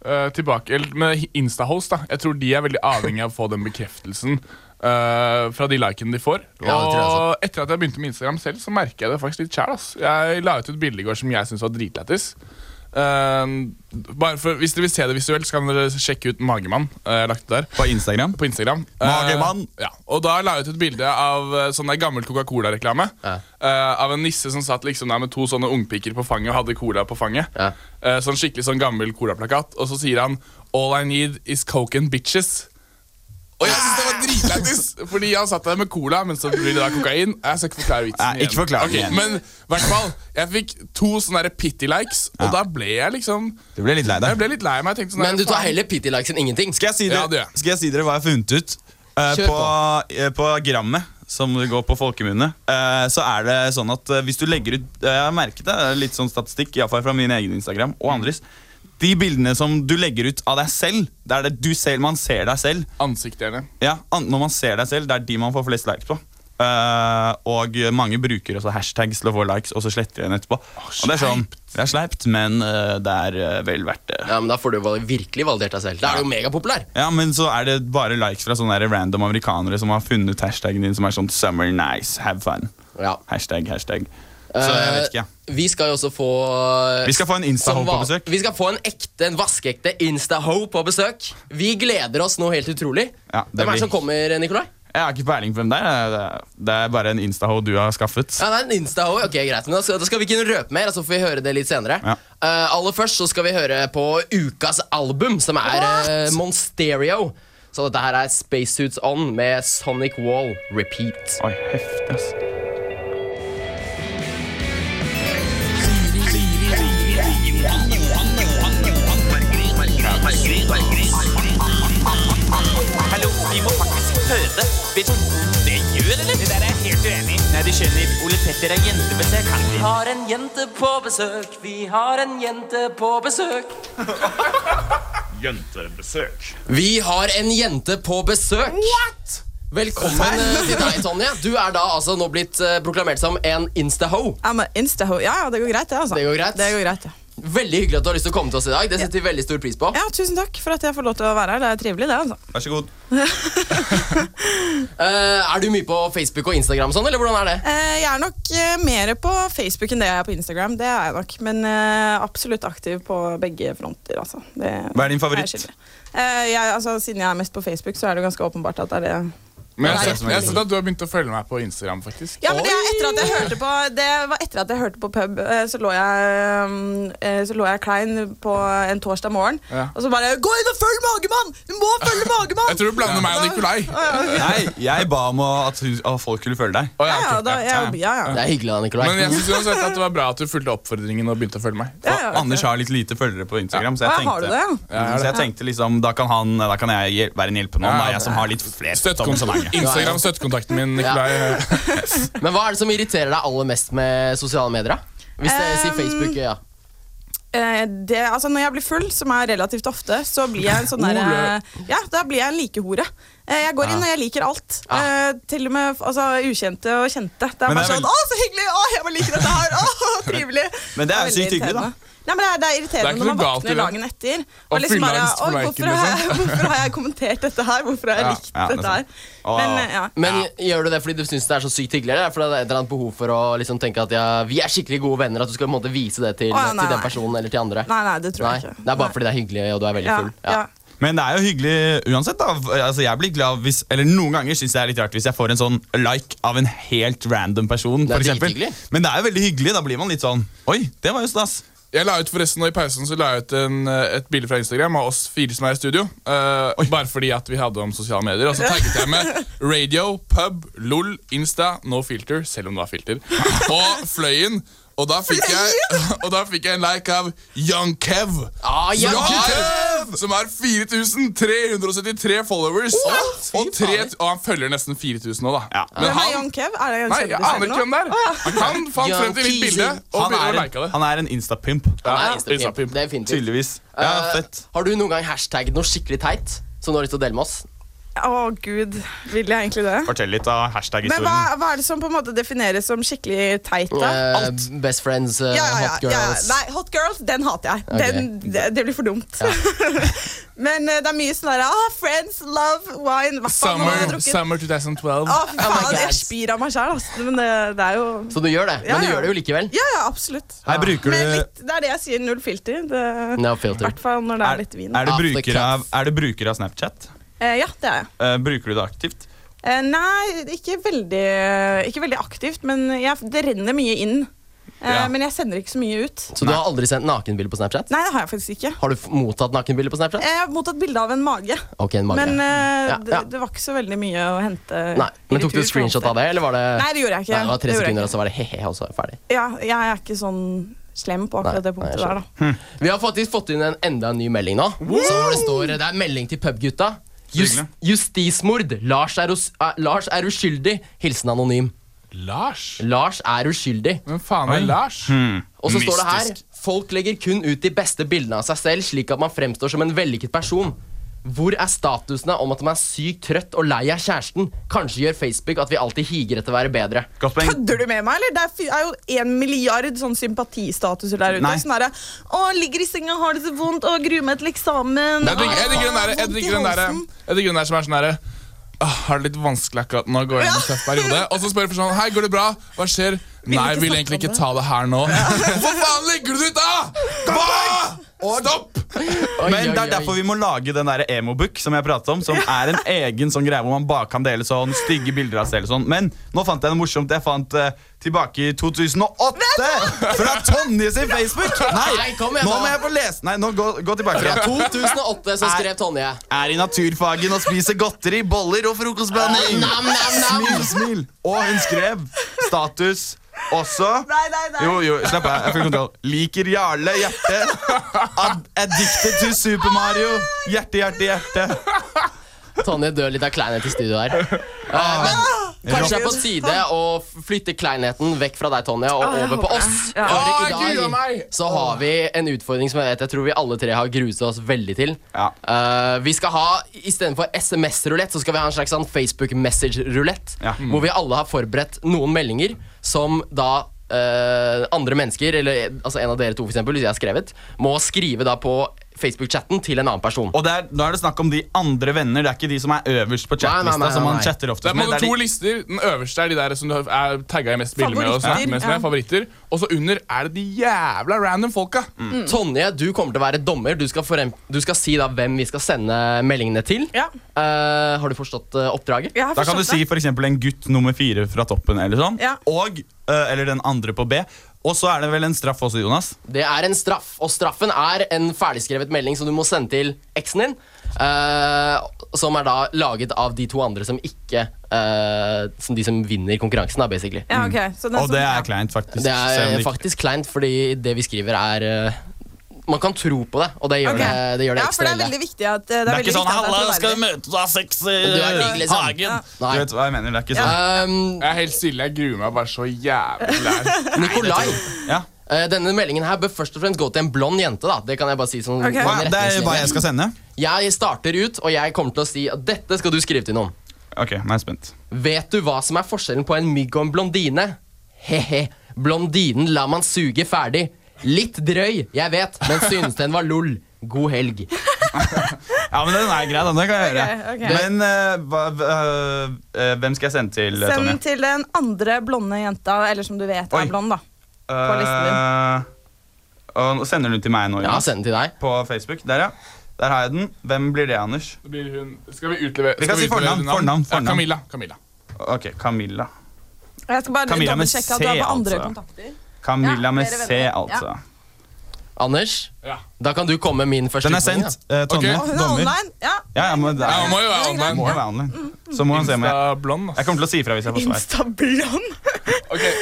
F: eh, tilbake, eller Med Instahost, da. Jeg tror de er veldig avhengig av å få den bekreftelsen eh, fra de likene de får.
D: Ja, det tror jeg også.
F: og etter at jeg begynte med Instagram selv, så merker jeg det faktisk litt sjæl. ass. Jeg la ut et bilde i går som jeg syntes var dritlættis. Eh, bare for, hvis dere vil se det visuelt, så kan dere sjekke ut Magemann. eh, jeg har lagt ut der
C: På Instagram?
F: På Instagram Eh,
C: Magemann.
F: ja. Og da la jeg ut et bilde av eh, sånn der gammel Coca-Cola-reklame. Eh, av en nisse som satt liksom der med to sånne ungpiker på fanget og hadde cola på fanget. Eh, sånn skikkelig sånn gammel colaplakat. Og så sier han All I need is coke and bitches. Og jeg synes det var dritlættis! Fordi han satt der med cola, men så blir det da kokain. Jeg skal ikke forklare vitsen
C: Nei, ikke forklare den
F: Ok,
C: igjen.
F: Men i hvert fall, jeg fikk to sånne der pity likes, og da ble jeg liksom
C: Du ble litt lei deg.
F: Jeg ble litt lei meg. Jeg tenkte sånn
D: Men
F: der,
D: du tar
F: faen.
D: heller pity likes enn ingenting.
C: Skal jeg si dere,
F: Ja, det gjør jeg.
C: skal jeg si dere hva jeg har funnet ut? Eh,
D: Kjør
C: på, eh, på Grammet, som det går på folkemunne, eh, så er det sånn at eh, hvis du legger ut eh, Jeg har merket det, det er litt sånn statistikk, i hvert fall fra min egen Instagram og andres. De bildene som du legger ut av deg selv, det er det du selv, man ser deg selv.
F: Ansiktet gjerne.
C: Ja, an Når man ser deg selv, det er de man får flest likes på. Eh, og mange bruker også hashtags til å få likes, og så sletter de den etterpå. og det er sånn, det er sleipt, men eh, det er eh, vel verdt det.
D: Ja, men Da får du val- virkelig validert deg selv. Da er du jo megapopulær.
C: Ja, men så er det bare likes fra sånne der random amerikanere som har funnet hashtaggen din som er sånn 'summer nice, have fun'. Hashtag, hashtag. Så jeg vet ikke.
D: Eh, Vi skal jo også få
C: Vi skal få en Insta-ho
D: som van-
C: på besøk.
D: Vi skal få en ekte, en vaskeekte Insta-ho på besøk. Vi gleder oss nå helt utrolig.
C: Ja, det
D: Hvem er det
C: blir-
D: som kommer, Nikolai?
C: Jeg har ikke peiling på hvem det er. Det er- Det er bare en instaho du har skaffet.
D: Ja, det er en Insta-ho. Ok, greit. Men da skal, da skal vi ikke røpe mer, så får vi høre det litt senere.
C: Ja.
D: Eh, aller først så skal vi høre på ukas album, som er eh, Monsterio. Så dette her er Spacesuits On med Sonic Wall Repeat.
C: Oi, heftig, ass.
Q: Hallo, vi må faktisk føde. Vet du det gjør, eller? Det der er jeg helt uenig i. Nei, du skjønner, Ole Petter er jentebesøk. Han
R: Vi har en jente på besøk, vi har en jente på besøk.
H: Jentebesøk.
D: Vi har en jente på besøk. What? Velkommen eh, til deg, Tonje. Du er da altså nå blitt eh, proklamert som en insta-ho.
S: I'm an insta-ho. Ja, ja, det går greit, det. altså.
D: Det går greit.
S: Det går greit, ja.
D: Veldig hyggelig at du har lyst til å komme til oss i dag. Det setter vi veldig stor pris på.
S: ja, Tusen takk for at jeg får lov til å være her. Det er trivelig, det. altså.
C: Vær så god.
D: Eh, er du mye på Facebook og Instagram sånn, eller hvordan er det?
S: Eh, Jeg er nok eh, mer på Facebook enn det jeg er på Instagram. det er jeg nok. Men eh, absolutt aktiv på begge fronter. altså. Det
C: Hva er din favoritt?
S: skyldig. Eh, jeg, altså, siden jeg er mest på Facebook, så er det ganske åpenbart at det er det.
F: Men jeg
S: Det er
F: har
S: det
F: sett-
S: som
F: jeg
S: er
F: har sett at du har begynt å følge meg på Instagram, faktisk.
S: Ja, men det, er etter at jeg hørte på, det var etter at jeg hørte på pub, eh, så lå jeg, mm, eh, så lå jeg klein på en torsdag morgen.
F: Ja.
S: Og så bare Gå inn og følg Magemann! Du må følge Magemann!
F: Jeg tror du blander meg og Nikolai.
C: Nei, jeg ba om å- at, hun- at folk skulle følge deg.
S: Ja, ja, da, jeg, ja, ja.
D: Det er hyggelig da, Nikolai.
F: Men jeg synes uansett at det var bra at du fulgte oppfordringen og begynte å følge meg.
S: ja,
C: Og Anders har litt lite følgere på Instagram, så jeg
S: Ah,
C: tenkte,
S: har du det, ja?
C: Mm, så jeg tenkte liksom, da kan, han, da kan jeg hjel- være en hjelpende hånd. da, Jeg som har litt flere som så mange.
F: Instagram-støttekontakten min, Nikolai.
D: Men hva er det som irriterer deg aller mest med sosiale medier? da? Hvis dere sier
S: Um,
D: Facebook, ja.
S: Eh, det, altså når jeg blir full, som er relativt ofte, så blir jeg en sånn der,
D: Ole.
S: eh, Ja, da blir jeg en likehore. Eh, Jeg går inn
D: Ah.
S: og jeg liker alt. Eh, Til og med altså, ukjente og kjente. Det er
C: Men
S: bare
C: det er
S: sånn
C: vel-
S: 'Å, så hyggelig! Å, jeg bare liker dette her! Å, trivelig!'
C: Men det er jo
S: veldig
C: sykt hyggelig, da.
S: irriterende. Nei, men det er, det er
C: Det er
S: irriterende
C: ikke
S: når man
C: noe galt i
S: våkner
C: det.
S: dagen etter.
C: Og
S: liksom
C: fylla
S: bare,
C: en
S: «Oi,
C: spreik,
S: hvorfor, har jeg,
D: liksom.»
S: hvorfor har jeg kommentert dette her? Hvorfor har jeg
D: Ja, ja,
S: likt
D: det er
S: dette
D: sant.
S: her? Men, eh, ja.
D: Men gjør du det fordi du syns det er så sykt hyggelig? Eller er det fordi det er et eller annet behov for å liksom tenke at ja, vi er skikkelig gode venner? At du skal på en måte vise det til,
S: Å, ja,
D: til
S: nei,
D: den
S: nei.
D: personen eller til andre?
S: Nei, nei, det tror jeg ikke.
D: Det er bare fordi det er hyggelig, og du er veldig
S: Ja,
D: full.
S: ja.
C: Men det er jo hyggelig uansett. da Altså jeg blir glad hvis Eller Noen ganger syns jeg det er litt rart hvis jeg får en sånn like av en helt random person.
F: Det er
C: for eksempel.
F: drithyggelig.
C: Men det er jo veldig hyggelig. Da blir man litt sånn Oi, det var jo stas.
F: Jeg la ut forresten nå I pausen så la jeg ut en, eh, et bilde fra Instagram av oss fire som er i studio. eh, bare fordi at vi hadde om sosiale medier. Og så tagget jeg med radio, pub, LOL, Insta, no filter, selv om det var filter, og Fløyen. Og da fikk jeg, og da fikk jeg en like av Young Kev.
D: Ah,
F: som,
D: Young
F: har, som har 4373 followers.
S: What?
F: Og, tre, og han følger nesten 4000 nå, da. Men
S: Hvem er
F: han,
S: Young Kev? Er det en
F: Nei, jeg
S: kjendis
F: aner
S: eller
F: ikke
S: noe?
F: hvem det er.
S: Å, ja.
F: han fant frem til mitt bilde og
C: Han
F: begynte å
C: er
F: like det.
C: en, han er en instapimp.
D: Han er Instapimp. Definitivt.
C: Tydeligvis. Ja,
D: Eh,
C: fett.
D: Har du noen gang hashtagget noe skikkelig teit som du har lyst til å dele med oss?
S: Å, gud. Vil jeg egentlig det?
C: Fortell litt av hashtag-historien.
S: Men hva, hva er det som på en måte defineres som skikkelig teit? da?
D: Eh, Best friends, eh,
S: Ja, ja, ja,
D: hot
S: ja, ja.
D: girls.
S: Nei, hot girls, den hater jeg.
D: Ok.
S: Den, det, det blir for dumt. Men eh, det er mye sånn der ah, Friends, love, wine Hva faen har jeg
F: Summer,
S: drukket?
F: summer 2012.
S: Å, fy
D: Oh my
S: faen,
D: God.
S: jeg spyr av meg sjæl, men det, det er jo
D: Så du gjør det,
S: Ja,
D: men du
S: ja.
D: gjør det jo likevel.
S: Ja, ja, absolutt.
C: Her bruker
S: Men
C: du-
S: litt, det er det jeg sier. Null filter. Det-
D: No
S: I
D: filter.
S: hvert fall når det er litt vin.
C: Er det bruker av, er det bruker av Snapchat?
S: Eh, ja, det er jeg.
C: Eh, bruker du det aktivt?
S: Eh, nei, ikke veldig, ikke veldig aktivt, men jeg, det renner mye inn. Eh,
D: Ja.
S: Men jeg sender ikke så mye ut.
D: Så du har aldri sendt nakenbilde på Snapchat?
S: Nei, det har jeg faktisk ikke.
D: Har du f- mottatt nakenbilde på Snapchat?
S: Jeg har mottatt bilde av en mage.
D: Ok, en mage.
S: Men eh,
D: Ja, ja.
S: Det, det var ikke så veldig mye å hente.
D: Nei, men Tok
S: i
D: du
S: retur,
D: screenshot av det? eller var det...
S: Nei, det gjorde jeg ikke.
D: Nei, det var
S: Det
D: tre
S: gjorde jeg
D: sekunder, og så var det he-he, og så var det ferdig.
S: Ja, jeg er ikke sånn slem på akkurat
D: Nei,
S: det
D: jeg
S: punktet der, da.
D: skjønner. Vi har faktisk fått inn en enda en ny melding nå. Så hvor Det står, det er melding til pubgutta. Just, justismord. Lars er, us, eh, Lars er uskyldig. Hilsen anonym.
F: Lars?
D: Lars er uskyldig.
F: Hvem faen er Lars?
C: Hmm. Mm.
D: Og så står det her
F: Mystisk.
D: Folk legger kun ut de beste bildene av seg selv, slik at man fremstår som en vellykket person. Hvor er statusene om at man er sykt trøtt og lei av kjæresten? Kanskje gjør Facebook at vi alltid higer etter å være bedre.
S: Kødder du med meg, eller? Det er, fy- er jo en milliard sånn sympatistatuser der ute.
D: Nei.
S: Sånn derre Å, ligger i senga, har det så vondt, å, gruer meg til eksamen.
F: Jeg digger jeg digger den der, jeg digger den der, jeg digger den der som er sånn derre «Åh, Har det litt vanskelig akkurat nå, går jeg inn i en tøff periode. Og så spør jeg for sånn Hei, går det bra? Hva skjer? Nei, vil egentlig ikke ta det her nå. Hvor faen legger du det ut, da?! Hva?! Stopp!
C: Men det er derfor vi må lage den der emobook som jeg pratet om. Som er en egen sånn greie hvor man bare kan dele sånn stygge bilder av seg selv. og Sånn. Men nå fant jeg noe morsomt. Jeg fant eh, tilbake i 2008 fra Tonje sin Facebook. Nei,
D: Nei, kom igjen
C: nå
D: da.
C: må jeg få lese. Nei, nå gå, gå tilbake.
D: Fra 2008 så skrev Tonje
C: Er i naturfagen og spiser godteri, boller og frokostblanding.
D: Nam, nam, nam.
C: Smil, smil. Og hun skrev status også.
S: Nei, nei, nei.
C: Jo, jo, slapp av. Jeg fikk kontroll. Liker Jarle, hjerte. Ad addicted to Super Mario. Hjerte, hjerte, hjerte.
D: Tonje dør litt av kleinhet i studio her.
F: Ah.
D: Eh, men kanskje det er på tide å flytte kleinheten vekk fra deg, Tonje, og
F: Å, Ah. jeg
D: over på
F: håper
D: oss.
F: det. Ja.
D: For
F: Å,
D: i
F: Gud,
D: dag så har vi en utfordring som jeg vet jeg tror vi alle tre har gruset oss veldig til. Eh, vi skal ha, Istedenfor SMS-rulett så skal vi ha en slags sånn Facebook message-rulett. Hvor vi alle har forberedt noen meldinger som da eh, andre mennesker, eller altså en av dere to for eksempel, hvis jeg har skrevet, må skrive da på Facebook-chatten til en annen person.
C: Og det er, nå er det snakk om de andre venner, det er ikke de som er øverst på
D: Nei, nei, nei,
C: chatlista. som man
D: nei.
C: chatter oftest
F: Det er
C: med.
F: både
C: Det er
F: to
C: de-
F: lister. Den øverste er de der som du er tagga i mest bilder med. Og
D: Favoritter,
F: snakket mest
D: ja.
F: med, favoritter Og så under er det de jævla random folka.
D: Mm. Tonje, du kommer til å være dommer. Du skal, forem- du skal si da hvem vi skal sende meldingene til. Eh, har du forstått eh, oppdraget?
C: Da kan du si for eksempel en gutt nummer fire fra toppen, eller sånn. Og, eh, eller den andre på B. Og så er det vel en straff også, Jonas.
D: Det er en straff, og straffen er en ferdigskrevet melding som du må sende til eksen din. eh, som er da laget av de to andre som ikke eh, Som de som vinner konkurransen, da, basically.
S: Ja, ok, så den
D: Og
S: som-
D: det
S: ja.
C: Det er kleint, faktisk.
D: Det
C: selv om
D: er
C: det ikke-
D: faktisk kleint, fordi det vi skriver, er eh, Man kan tro på det, og det gjør
S: Ok.
D: det, det, gjør det
S: ja, for
D: ekstra
S: det er
D: ille.
S: veldig viktig at Det er,
D: Det er
S: veldig
D: ikke sånn,
S: viktig at det er
D: «Halla, skal
S: troverdig».
D: vi
C: møte, du har sex i
D: Du er digg, liksom.
C: hagen.
D: Nei.
C: Du vet hva jeg mener, det er ikke
D: Ja.
C: sånn.
F: Jeg er helt stille. Jeg gruer meg bare så jævlig.
D: Nikolai, Eh, Denne meldingen her bør først og fremst gå til en blond jente. da Det kan jeg bare si sånn
C: Ok. Hva- det er hva jeg skal sende?
D: Jeg starter ut, og jeg kommer til å si at dette skal du skrive til noen.
C: Ok, nå er jeg spent.
D: Vet du hva som er forskjellen på en mygg og en blondine? He-he, blondinen lar man suge ferdig. Litt drøy, jeg vet, men synes den var lol. God helg.
C: Ja, men den er grei, den. Det kan jeg gjøre.
S: Ok, ok.
C: Men eh, hva, eh, eh, hvem skal jeg sende til, eh, Tonje?
S: Send til den andre blonde jenta, eller som du vet er blond, da. på listen
C: Eh, og sender du til meg nå?
D: Ja, send den til deg.
C: På Facebook. Der, ja. Der har jeg den. Hvem blir det, Anders?
F: Det blir hun. Skal vi utlevere
C: Vi kan si fornavn. fornavn, fornavn.
F: Ja, Camilla. Camilla.
C: Ok, Camilla.
S: Jeg skal bare
C: Camilla med
S: dobbeltsjekke at du er
C: C,
S: på andre
C: altså.
S: kontakter.
C: Camilla
S: Ja,
C: med
S: dere
C: C,
S: venner.
C: altså.
S: Ja.
D: Anders, da kan du komme med min første
C: Den er
D: utfordring,
C: sendt.
D: da.
C: Eh, Tonje,
S: Og hun er
C: dommer.
S: online. Ja.
C: Ja, jeg må,
S: Ja, hun må jo være
C: Ja,
S: online.
C: Må jo være online. Så må han se om jeg Jeg kommer til å si ifra hvis jeg får svar.
S: Instablond.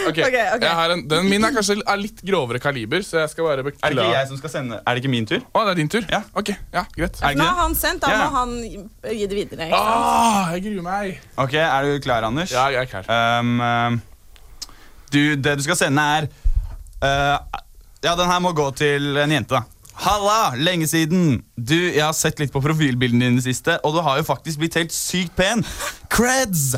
F: Ok, Jeg har en, den min er kanskje er litt grovere kaliber, så jeg skal være
C: Er det ikke jeg som skal sende? Er det ikke min tur?
F: Å, det er din tur? Ja, ok. Ja, greit.
C: Er det
S: Nå
C: ikke
S: har
C: det?
S: han sendt, da
C: Ja.
S: må han gi gi det videre. Ikke sant?
F: Ah, jeg gruer meg.
C: Ok, Er du klar, Anders? Ja,
F: jeg er klar.
C: du, det du skal sende, er eh, Ja, den her må gå til en jente, da. Halla! Lenge siden! Du, Jeg har sett litt på profilbildene dine i det siste, og du har jo faktisk blitt helt sykt pen. Creds!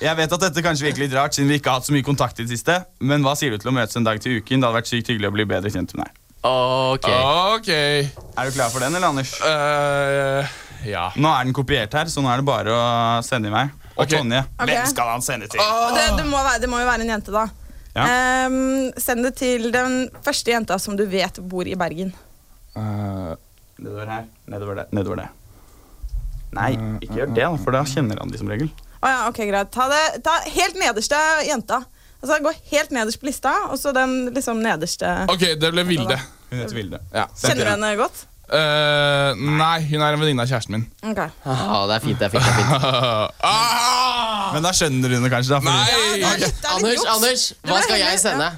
C: Jeg vet at dette kanskje virker litt rart, siden vi ikke har hatt så mye kontakt i det siste, men hva sier du til å møtes en dag til uken? Det hadde vært sykt hyggelig å bli bedre kjent med deg.
D: Ok.
F: Ok. Eh,
C: Er du klar for den, eller, Anders?
F: ja.
C: Nå er den kopiert her, så nå er det bare å sende i meg. Og Tonje.
S: Ok.
C: Hvem skal han sende til?
S: Og Det, det, må være, det må jo være en jente, da.
C: Ja.
S: Ehm, send det til den første jenta som du vet bor i Bergen.
C: Eh, nedover her. Nedover der. Nedover der. Nei, ikke gjør det, da, for da kjenner han de som regel.
S: Å ja, ok, greit. Ta, det, ta helt nederste jenta. Altså, Gå helt nederst på lista, og så den liksom nederste.
F: Ok, det ble Vilde.
C: Hun heter Vilde.
F: Ja.
S: Kjenner du henne godt?
F: Eh, nei, hun er en venninne av kjæresten min.
S: Ok.
D: Ah, det er fint, det er fint. Det er fint.
C: Men da skjønner hun det kanskje, da.
F: Ah! Nei!
D: Anders, Anders, hva skal jeg sende?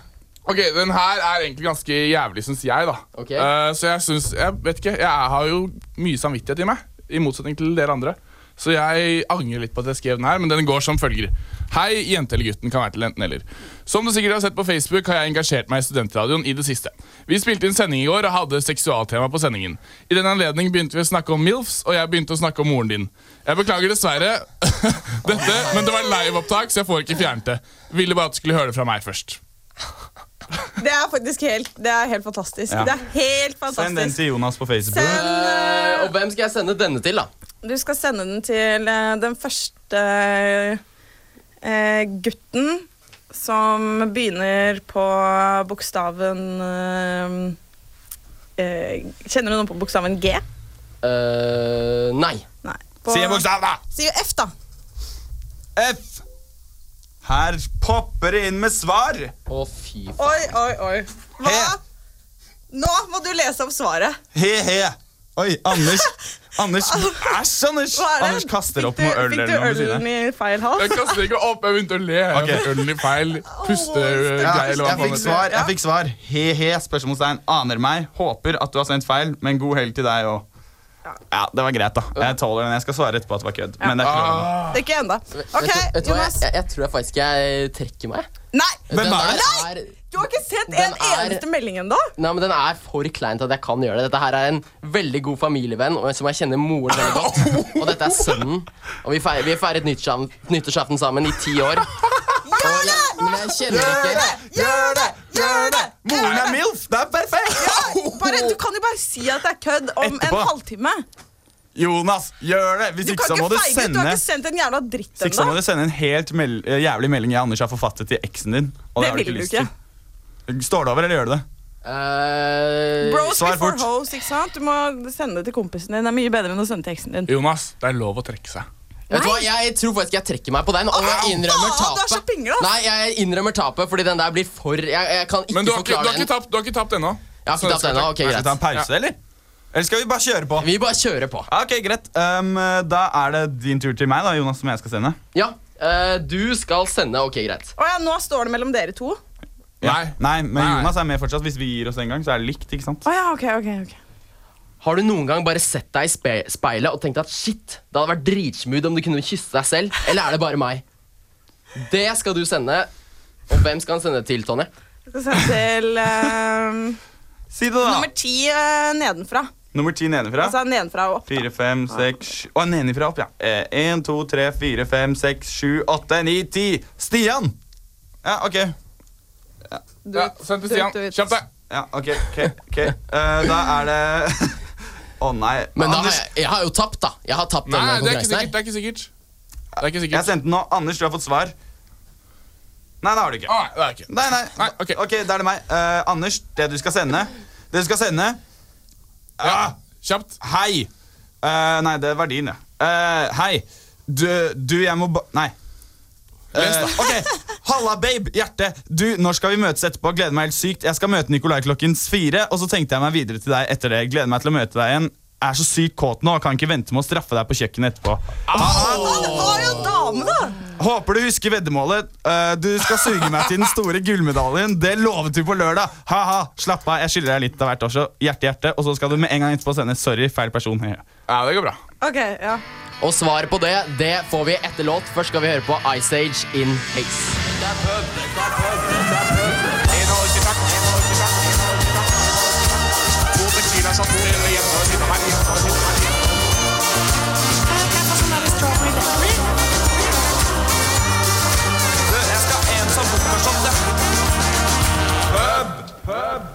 F: Ok, Den her er egentlig ganske jævlig, syns jeg. da Eh, Så jeg synes, jeg vet ikke, jeg har jo mye samvittighet i meg, i motsetning til dere andre. Så jeg angrer litt på at jeg skrev den her, men den går som følger. Hei, jente eller gutten, kan være til enten eller. Som du sikkert har sett på Facebook, har jeg engasjert meg i studentradioen i det siste. Vi spilte inn sending i går og hadde seksualtema på sendingen. I den anledning begynte vi å snakke om MILFs, og jeg begynte å snakke om moren din. Jeg beklager dessverre dette, men det var liveopptak, så jeg får ikke fjernet det. Ville bare at du skulle høre det fra meg først.
S: Det er faktisk helt, det er helt fantastisk.
F: Ja.
S: Det er helt
C: Send den
S: fantastisk.
C: til Jonas på Facebook.
D: Eh, og hvem skal jeg sende denne til, da?
S: Du skal sende den til eh, den første eh, gutten som begynner på bokstaven eh, eh, Kjenner du noen på bokstaven G?
D: Eh, nei.
S: På,
C: Si en bokstav, da!
S: Si F, da.
C: F. Her popper det inn med svar.
D: Å, fy
S: Oi, oi, oi. Hva? Nå må du lese opp svaret.
C: He-he. Oi, Anders. Anders. Æsj, Anders!
S: Hva er det?
C: Anders kaster opp noe øl
S: Fikk du
C: eller noe ved siden
S: ølen i feil hals?
F: Jeg kaster ikke opp, jeg begynte å le. Jeg
C: Ok.
F: fikk ølen i feil pustegreie.
C: Ja,
F: eller hva
C: jeg
F: faen
C: fikk
F: det heter.
C: svar. jeg fikk svar. He-he, spørsmålstegn. Aner meg. Håper at du har sendt feil, men god helg til deg òg. Ja, det var greit, da. Jeg tåler den. Jeg skal svare etterpå at det var kødd. Men det er ikke
F: Ah.
C: lov. nå.
S: Det er ikke ennå.
D: Vet
S: OK,
D: du- vet du hva,
S: Jonas.
D: Jeg, jeg tror jeg faktisk jeg trekker meg.
S: Nei!
D: Den der
S: Nei! Du har ikke sett
D: Den
S: en
D: er-
S: eneste melding ennå?
D: Nei, men Den er for klein til at jeg kan gjøre det. Dette her er en veldig god familievenn og som jeg kjenner moren veldig godt. Og dette er sønnen. Og vi feiret, vi feiret nyttårsaften- nyttårsaften sammen i ti år.
S: Gjør det!
D: Men jeg kjenner ikke
S: Gjør det! Gjør det!
C: Moren er MILF! Det er perfekt!
S: Ja, bare, du kan jo bare si at det er kødd om
C: Etterpå.
S: en halvtime.
C: Jonas, gjør det! Hvis
S: Du
C: ikke
S: kan
C: så må
S: ikke
C: du
S: feige ut. Du
C: sende
S: har ikke sendt en jævla dritt
C: Hvis ikke så må
S: ennå.
C: du sende en helt mel eh, jævlig melding jeg og Anders har forfattet til eksen din. Og det, har du ikke lyst til. Står det over, eller gjør det det?
D: Eh,
S: Bros
C: Svar
S: before
C: fort.
S: hoes, ikke sant? Du må sende det til kompisen din. Det er mye bedre enn å sende teksten din.
F: Jonas, det er lov å trekke seg.
D: Vet du hva, Jeg tror faktisk jeg trekker meg på den, og jeg innrømmer
S: faen, du er så
D: tapet. Nei, jeg innrømmer tapet, fordi den der blir for Jeg, jeg kan ikke
F: Men du har ikke, du
D: forklare
F: har ikke tapt, du har ikke tapt ennå.
D: Jeg har ikke tapt ennå. Ok,
C: Skal
D: greit.
C: vi ta en pause, eller? Eller skal vi bare kjøre på?
D: Vi bare kjører på.
C: Ok, greit. Um, da er det din tur til meg, da, Jonas, som jeg skal sende.
D: Ja, eh, du skal sende. Ok, greit.
S: Å ja, nå står det mellom dere to.
C: Nei. Nei, men Jonas er med fortsatt. Hvis vi gir oss en gang, så er det likt, ikke sant?
S: Å ja, ok, ok, ok.
D: Har du noen gang bare sett deg i spe speilet og tenkt at shit, det hadde vært dritsmooth om du kunne kysse deg selv? Eller er det bare meg? Det skal du sende. Og hvem skal han sende det til, Tonje?
S: Jeg skal sende til eh,
C: Si det, da.
S: Nummer ti eh, nedenfra.
C: Nummer ti nedenfra.
S: Altså nedenfra og opp.
C: Fire, fem, seks sju- Å, nedenfra opp, ja. Eh, En, to, tre, fire, fem, seks, sju, åtte, ni, ti. Stian! Ja, OK.
F: Ja, send til Stian. Kjapp deg.
C: Ja, OK. ok, ok. Eh, da er det Å nei.
D: Men da har
C: Anders-
D: jeg, jeg har jo tapt, da. Jeg har tapt
C: Nei, det er
D: denne
C: ikke
D: konkurransen her.
C: sikkert, det
F: er ikke sikkert.
C: Jeg sendte den nå. Anders, du har fått svar. Nei, det har du ikke.
F: Nei, det er ikke.
C: Nei, nei. ok, da er det meg. Eh, Anders, det du skal sende Det du skal sende Ah!
F: Kjapt.
C: Hei. Eh, nei, det var din, ja. Eh, hei. Du, du, jeg må ba... Nei.
F: Les, da.
C: Eh, ok. Halla, babe. Hjerte. Du, når skal vi møtes etterpå? Gleder meg helt sykt. Jeg skal møte Nikolai klokken fire, og så tenkte jeg meg videre til deg etter det. Gleder meg til å møte deg igjen. Er så sykt kåt nå. Kan ikke vente med å straffe deg på kjøkkenet etterpå.
S: Det var jo dame, da!
C: Håper du husker veddemålet. Eh, du skal suge meg til den store gullmedaljen. Det lovet du på lørdag. Ha-ha. Slapp av, jeg skylder deg litt av hvert også. Hjerte, hjerte. Og så skal du med en gang etterpå sende 'sorry, feil person'.
F: Ja, det går bra.
S: Ok, ja.
D: Og svaret på det, det får vi etter låt. Først skal vi høre på Ice Age in Haze. Pub!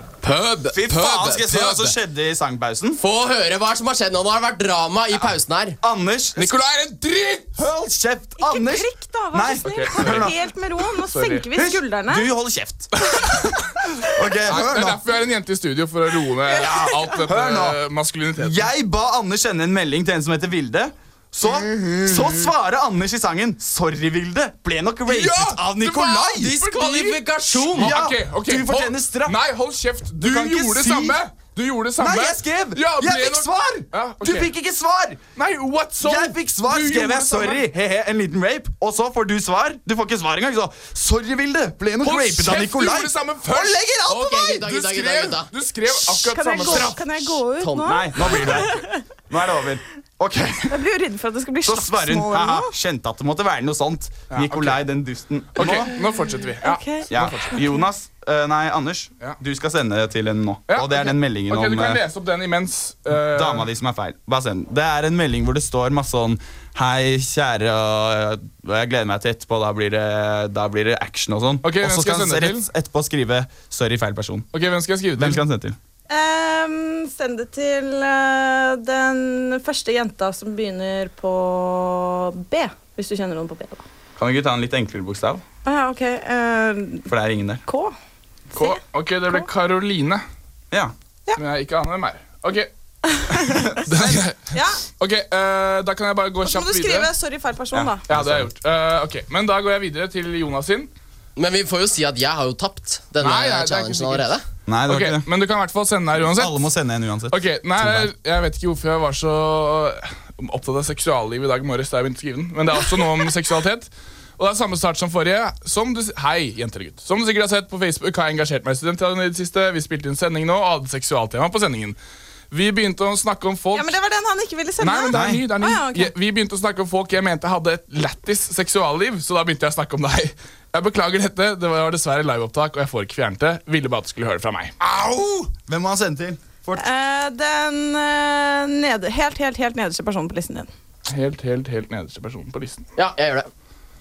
C: Fy faen, skal jeg si hva som skjedde i sangpausen?
D: Få høre hva som har skjedd nå. Nå har det vært drama i pausen her.
C: Anders
D: Nikolai er en dritt!
C: Hold kjeft, Anders!
S: Prikk, da, vær så snill. Hold deg helt med ro. Nå
F: Sorry.
S: senker vi
F: Hysj,
S: skuldrene.
C: du holder kjeft.
F: Det
C: hør
F: er
C: nå.
F: derfor vi har en jente i studio, for å roe ned alt dette
C: Hør nå.
F: eh, maskuliniteten.
C: Jeg ba Anders sende en melding til en som heter Vilde. Så,
F: Mhm.
C: så svarer Anders i sangen 'Sorry, Vilde'. Ble nok ratet av Nikolai. Ja,
F: Ok, ok,
C: Du fortjener straff.
F: Hold, nei, hold kjeft. Du,
C: Du kan ikke
F: gjorde det
C: si-
F: samme. Du gjorde det samme.
C: Nei, jeg skrev!
F: Ja,
C: jeg
F: ble
C: fikk
F: nok-
C: svar!
F: Ja, ok.
C: Du fikk ikke svar!
F: Nei, what so?
C: Jeg fikk svar,
F: Du gjorde
C: skrev
F: det
C: jeg. Sorry,
F: samme.
C: he-he, en liten rape. Og så får du svar. Du får ikke svar engang. Så sorry, Vilde. Ble nok
F: Hold
C: rapet av
F: kjeft, du
C: Nikolai.
F: gjorde det samme først.
C: Og legger alt
F: Ok,
C: på meg!
F: gutta, gutta, gutta, gutta. Du skrev akkurat
S: Kan jeg,
F: samme
S: gå,
F: straff.
S: kan jeg gå ut
C: Tom,
S: nå?
C: nei, nå blir det Nå er det over. Ok,
S: Jeg blir jo redd for at det skal bli
C: Så svarer hun.
S: slagsmål eller
C: Haha,
S: noe.
C: skjønte at det måtte være noe sånt.
F: Ja,
C: Nikolai, den dusten.
F: Ok, nå fortsetter vi. Ja.
C: Ja.
F: Nå fortsetter vi.
C: Jonas, eh, nei, Anders,
F: Ja.
C: du skal sende til henne nå.
F: Ja,
C: Og det er den meldingen
F: Ok, Du
C: om eh,
F: kan lese opp den imens. eh,
C: Dama di som er feil. Bare send den. Det er en melding hvor det står masse sånn Hei, kjære, og og jeg gleder meg til etterpå. Da blir det, da blir det action og sånn.
F: Ok, hvem
C: og så
F: skal
C: skal han
F: jeg sende
C: rett etterpå skrive 'sorry, feil person'.
F: Ok, Hvem skal jeg skrive til?
C: Hvem skal han sende til?
S: Ehm, send det til eh, den første jenta som begynner på B. Hvis du kjenner noen på B. da.
C: Kan vi ikke ta en litt enklere bokstav?
S: Å ja, ok. ehm,
C: For det er ingen der.
S: K.
F: K. Ok, det ble Karoline.
C: Ja.
F: Som jeg ikke aner hvem er. Ok. Ok, eh, Da kan jeg bare gå
S: Så må
F: kjapt
S: du
F: videre.
S: skrive 'sorry, feil person', da.
F: Ja, det har jeg gjort. Eh, ok, Men da går jeg videre til Jonas sin.
D: Men vi får jo si at jeg har jo tapt denne
F: Nei, nei, det er ikke
D: challengen
F: sikkert.
D: allerede.
C: Nei, det var
F: Ok,
C: ikke det.
F: Men du kan i hvert fall sende her uansett.
C: Alle må sende en uansett.
F: Ok, nei, Jeg vet ikke hvorfor jeg var så eh, opptatt av seksualliv i dag morges. da jeg begynte å skrive den Men det er også noe om seksualitet. Og det er samme start som forrige. Som du, hei, jenter og gutt. Som du sikkert har sett på Facebook, har jeg engasjert meg i studentradioen i det siste. Vi spilte inn sending nå og hadde seksualtema på sendingen. Vi begynte å snakke om folk
S: Ja, men Det var den han ikke ville sende.
F: Nei, men det er ny, det er ny.
S: Å ja, ok.
F: Jeg- Vi begynte å snakke om folk jeg mente hadde et lættis seksualliv, så da begynte jeg å snakke om deg. Jeg beklager dette, det var dessverre liveopptak, og jeg får ikke fjernet det. Ville bare at du skulle høre det fra meg.
C: Au! Hvem må han sende til?
S: Eh, den eh, nede, helt, helt, helt nederste personen på listen din.
F: Helt, helt, helt nederste personen på listen.
D: Ja, jeg gjør det.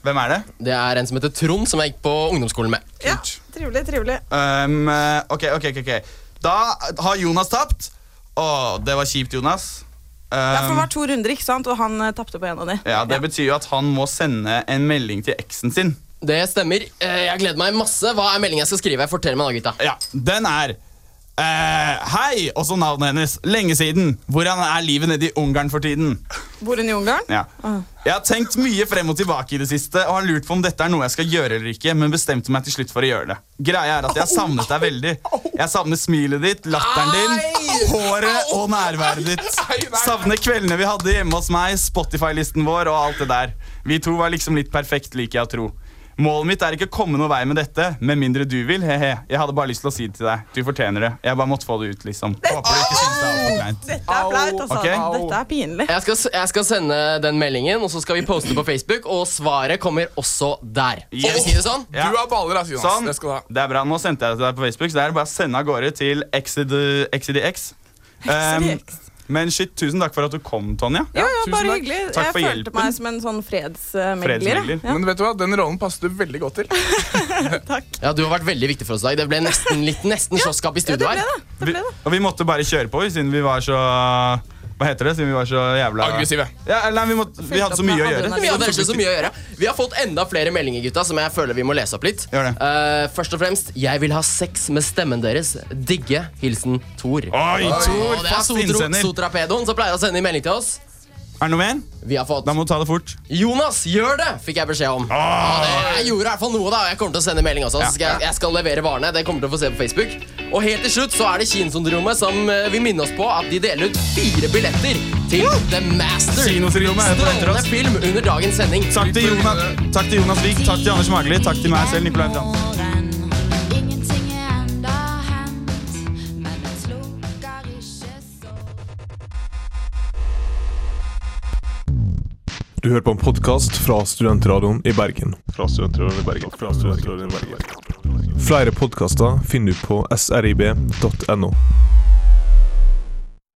C: Hvem er det?
D: Det er en som heter Trond, som jeg gikk på ungdomsskolen med.
S: Ja, Trivelig, trivelig.
C: Um, eh, ok, ok, ok, ok. Da har Jonas tapt. Å, det var kjipt, Jonas.
S: Ja, for det
C: Um,
S: var to runder, ikke sant? og han eh, tapte på en av de.
C: ja, det betyr jo at han må sende en melding til eksen sin.
D: Det stemmer. Eh, Jeg gleder meg masse. Hva er meldingen jeg skal skrive? Fortell meg da, gutta.
C: Ja, den er eh, Hei, også navnet hennes. Lenge siden. Hvordan er livet nede i Ungarn for tiden?
S: Bor hun i Ungarn?
C: Ja.
S: Ah.
C: Jeg har tenkt mye frem og tilbake i det siste og har lurt på om dette er noe jeg skal gjøre eller ikke, men bestemte meg til slutt for å gjøre det. Greia er at jeg har savnet deg veldig. Jeg savner smilet ditt, latteren din, håret og nærværet ditt. Savner kveldene vi hadde hjemme hos meg, Spotify-listen vår og alt det der. Vi to var liksom litt perfekt, liker jeg å tro. Målet mitt er ikke å komme noen vei med dette, med mindre du vil. He-he. Jeg hadde bare lyst til å si det til deg. Du fortjener det. Jeg bare måtte få det ut, liksom. Håper du ikke synes det er for kleint.
S: Dette er flaut, altså.
C: Ok.
S: Dette er pinlig.
D: Jeg skal, jeg skal sende den meldingen, og så skal vi poste på Facebook. Og svaret kommer også der. Skal vi si det sånn?
C: Ja. Sånn. Det er bra. Nå sendte jeg det til deg på Facebook, så det er bare å sende av gårde til XDX. men shit, tusen takk for at du kom, Tonje.
S: Jo, jo, bare hyggelig.
C: Takk
S: Jeg
C: for
S: følte
C: hjelpen.
S: meg som en sånn fredsmegler. jeg. Ja.
D: Men vet du hva, den rollen passer du veldig godt til. Takk Ja, Du har vært veldig viktig for oss i dag. Det ble nesten litt nesten slåsskamp i studio her.
C: Vi, og vi måtte bare kjøre på, siden vi var så Hva heter det? Siden vi var så jævla
D: Aggressive.
C: Ja, nei, vi, måtte, vi hadde så mye å gjøre.
D: Vi hadde rett og slett så mye å gjøre. Vi har fått enda flere meldinger, gutta, som jeg føler vi må lese opp litt. Eh, først og fremst, jeg vil ha sex med stemmen deres. Digge. Hilsen Tor.
C: Oi, Thor,
D: Og det er
C: fast innsender.
D: Sotro- Sotrapedoen som pleier å sende melding til oss.
C: Er det noe mer?
D: Vi har fått
C: Da må du ta det fort.
D: Jonas, gjør det! Fikk jeg beskjed om. Ja, det, jeg gjorde i hvert fall noe, da. og Jeg kommer til å sende melding også.
C: Ja,
D: Så skal jeg,
C: ja.
D: jeg skal levere varene. Det kommer til å få se på Facebook. Og helt til slutt så er det Kinosyndromet som eh, vil minne oss på at de deler ut fire billetter til The Master.
C: Kinosyndromet er på etter oss.
D: Strålende film under dagens sending.
C: Takk til Jonas, takk til Jonas Vik, takk til Anders Magli, takk til meg selv, Nicolai Tann.
T: Ingenting er enda hendt, men jeg slukker ikke så
U: Du hører på en podkast fra Studentradioen i Bergen. Fra Studentradioen i Bergen. Fra Studentradioen i Bergen. Flere podkaster finner du på srib.no.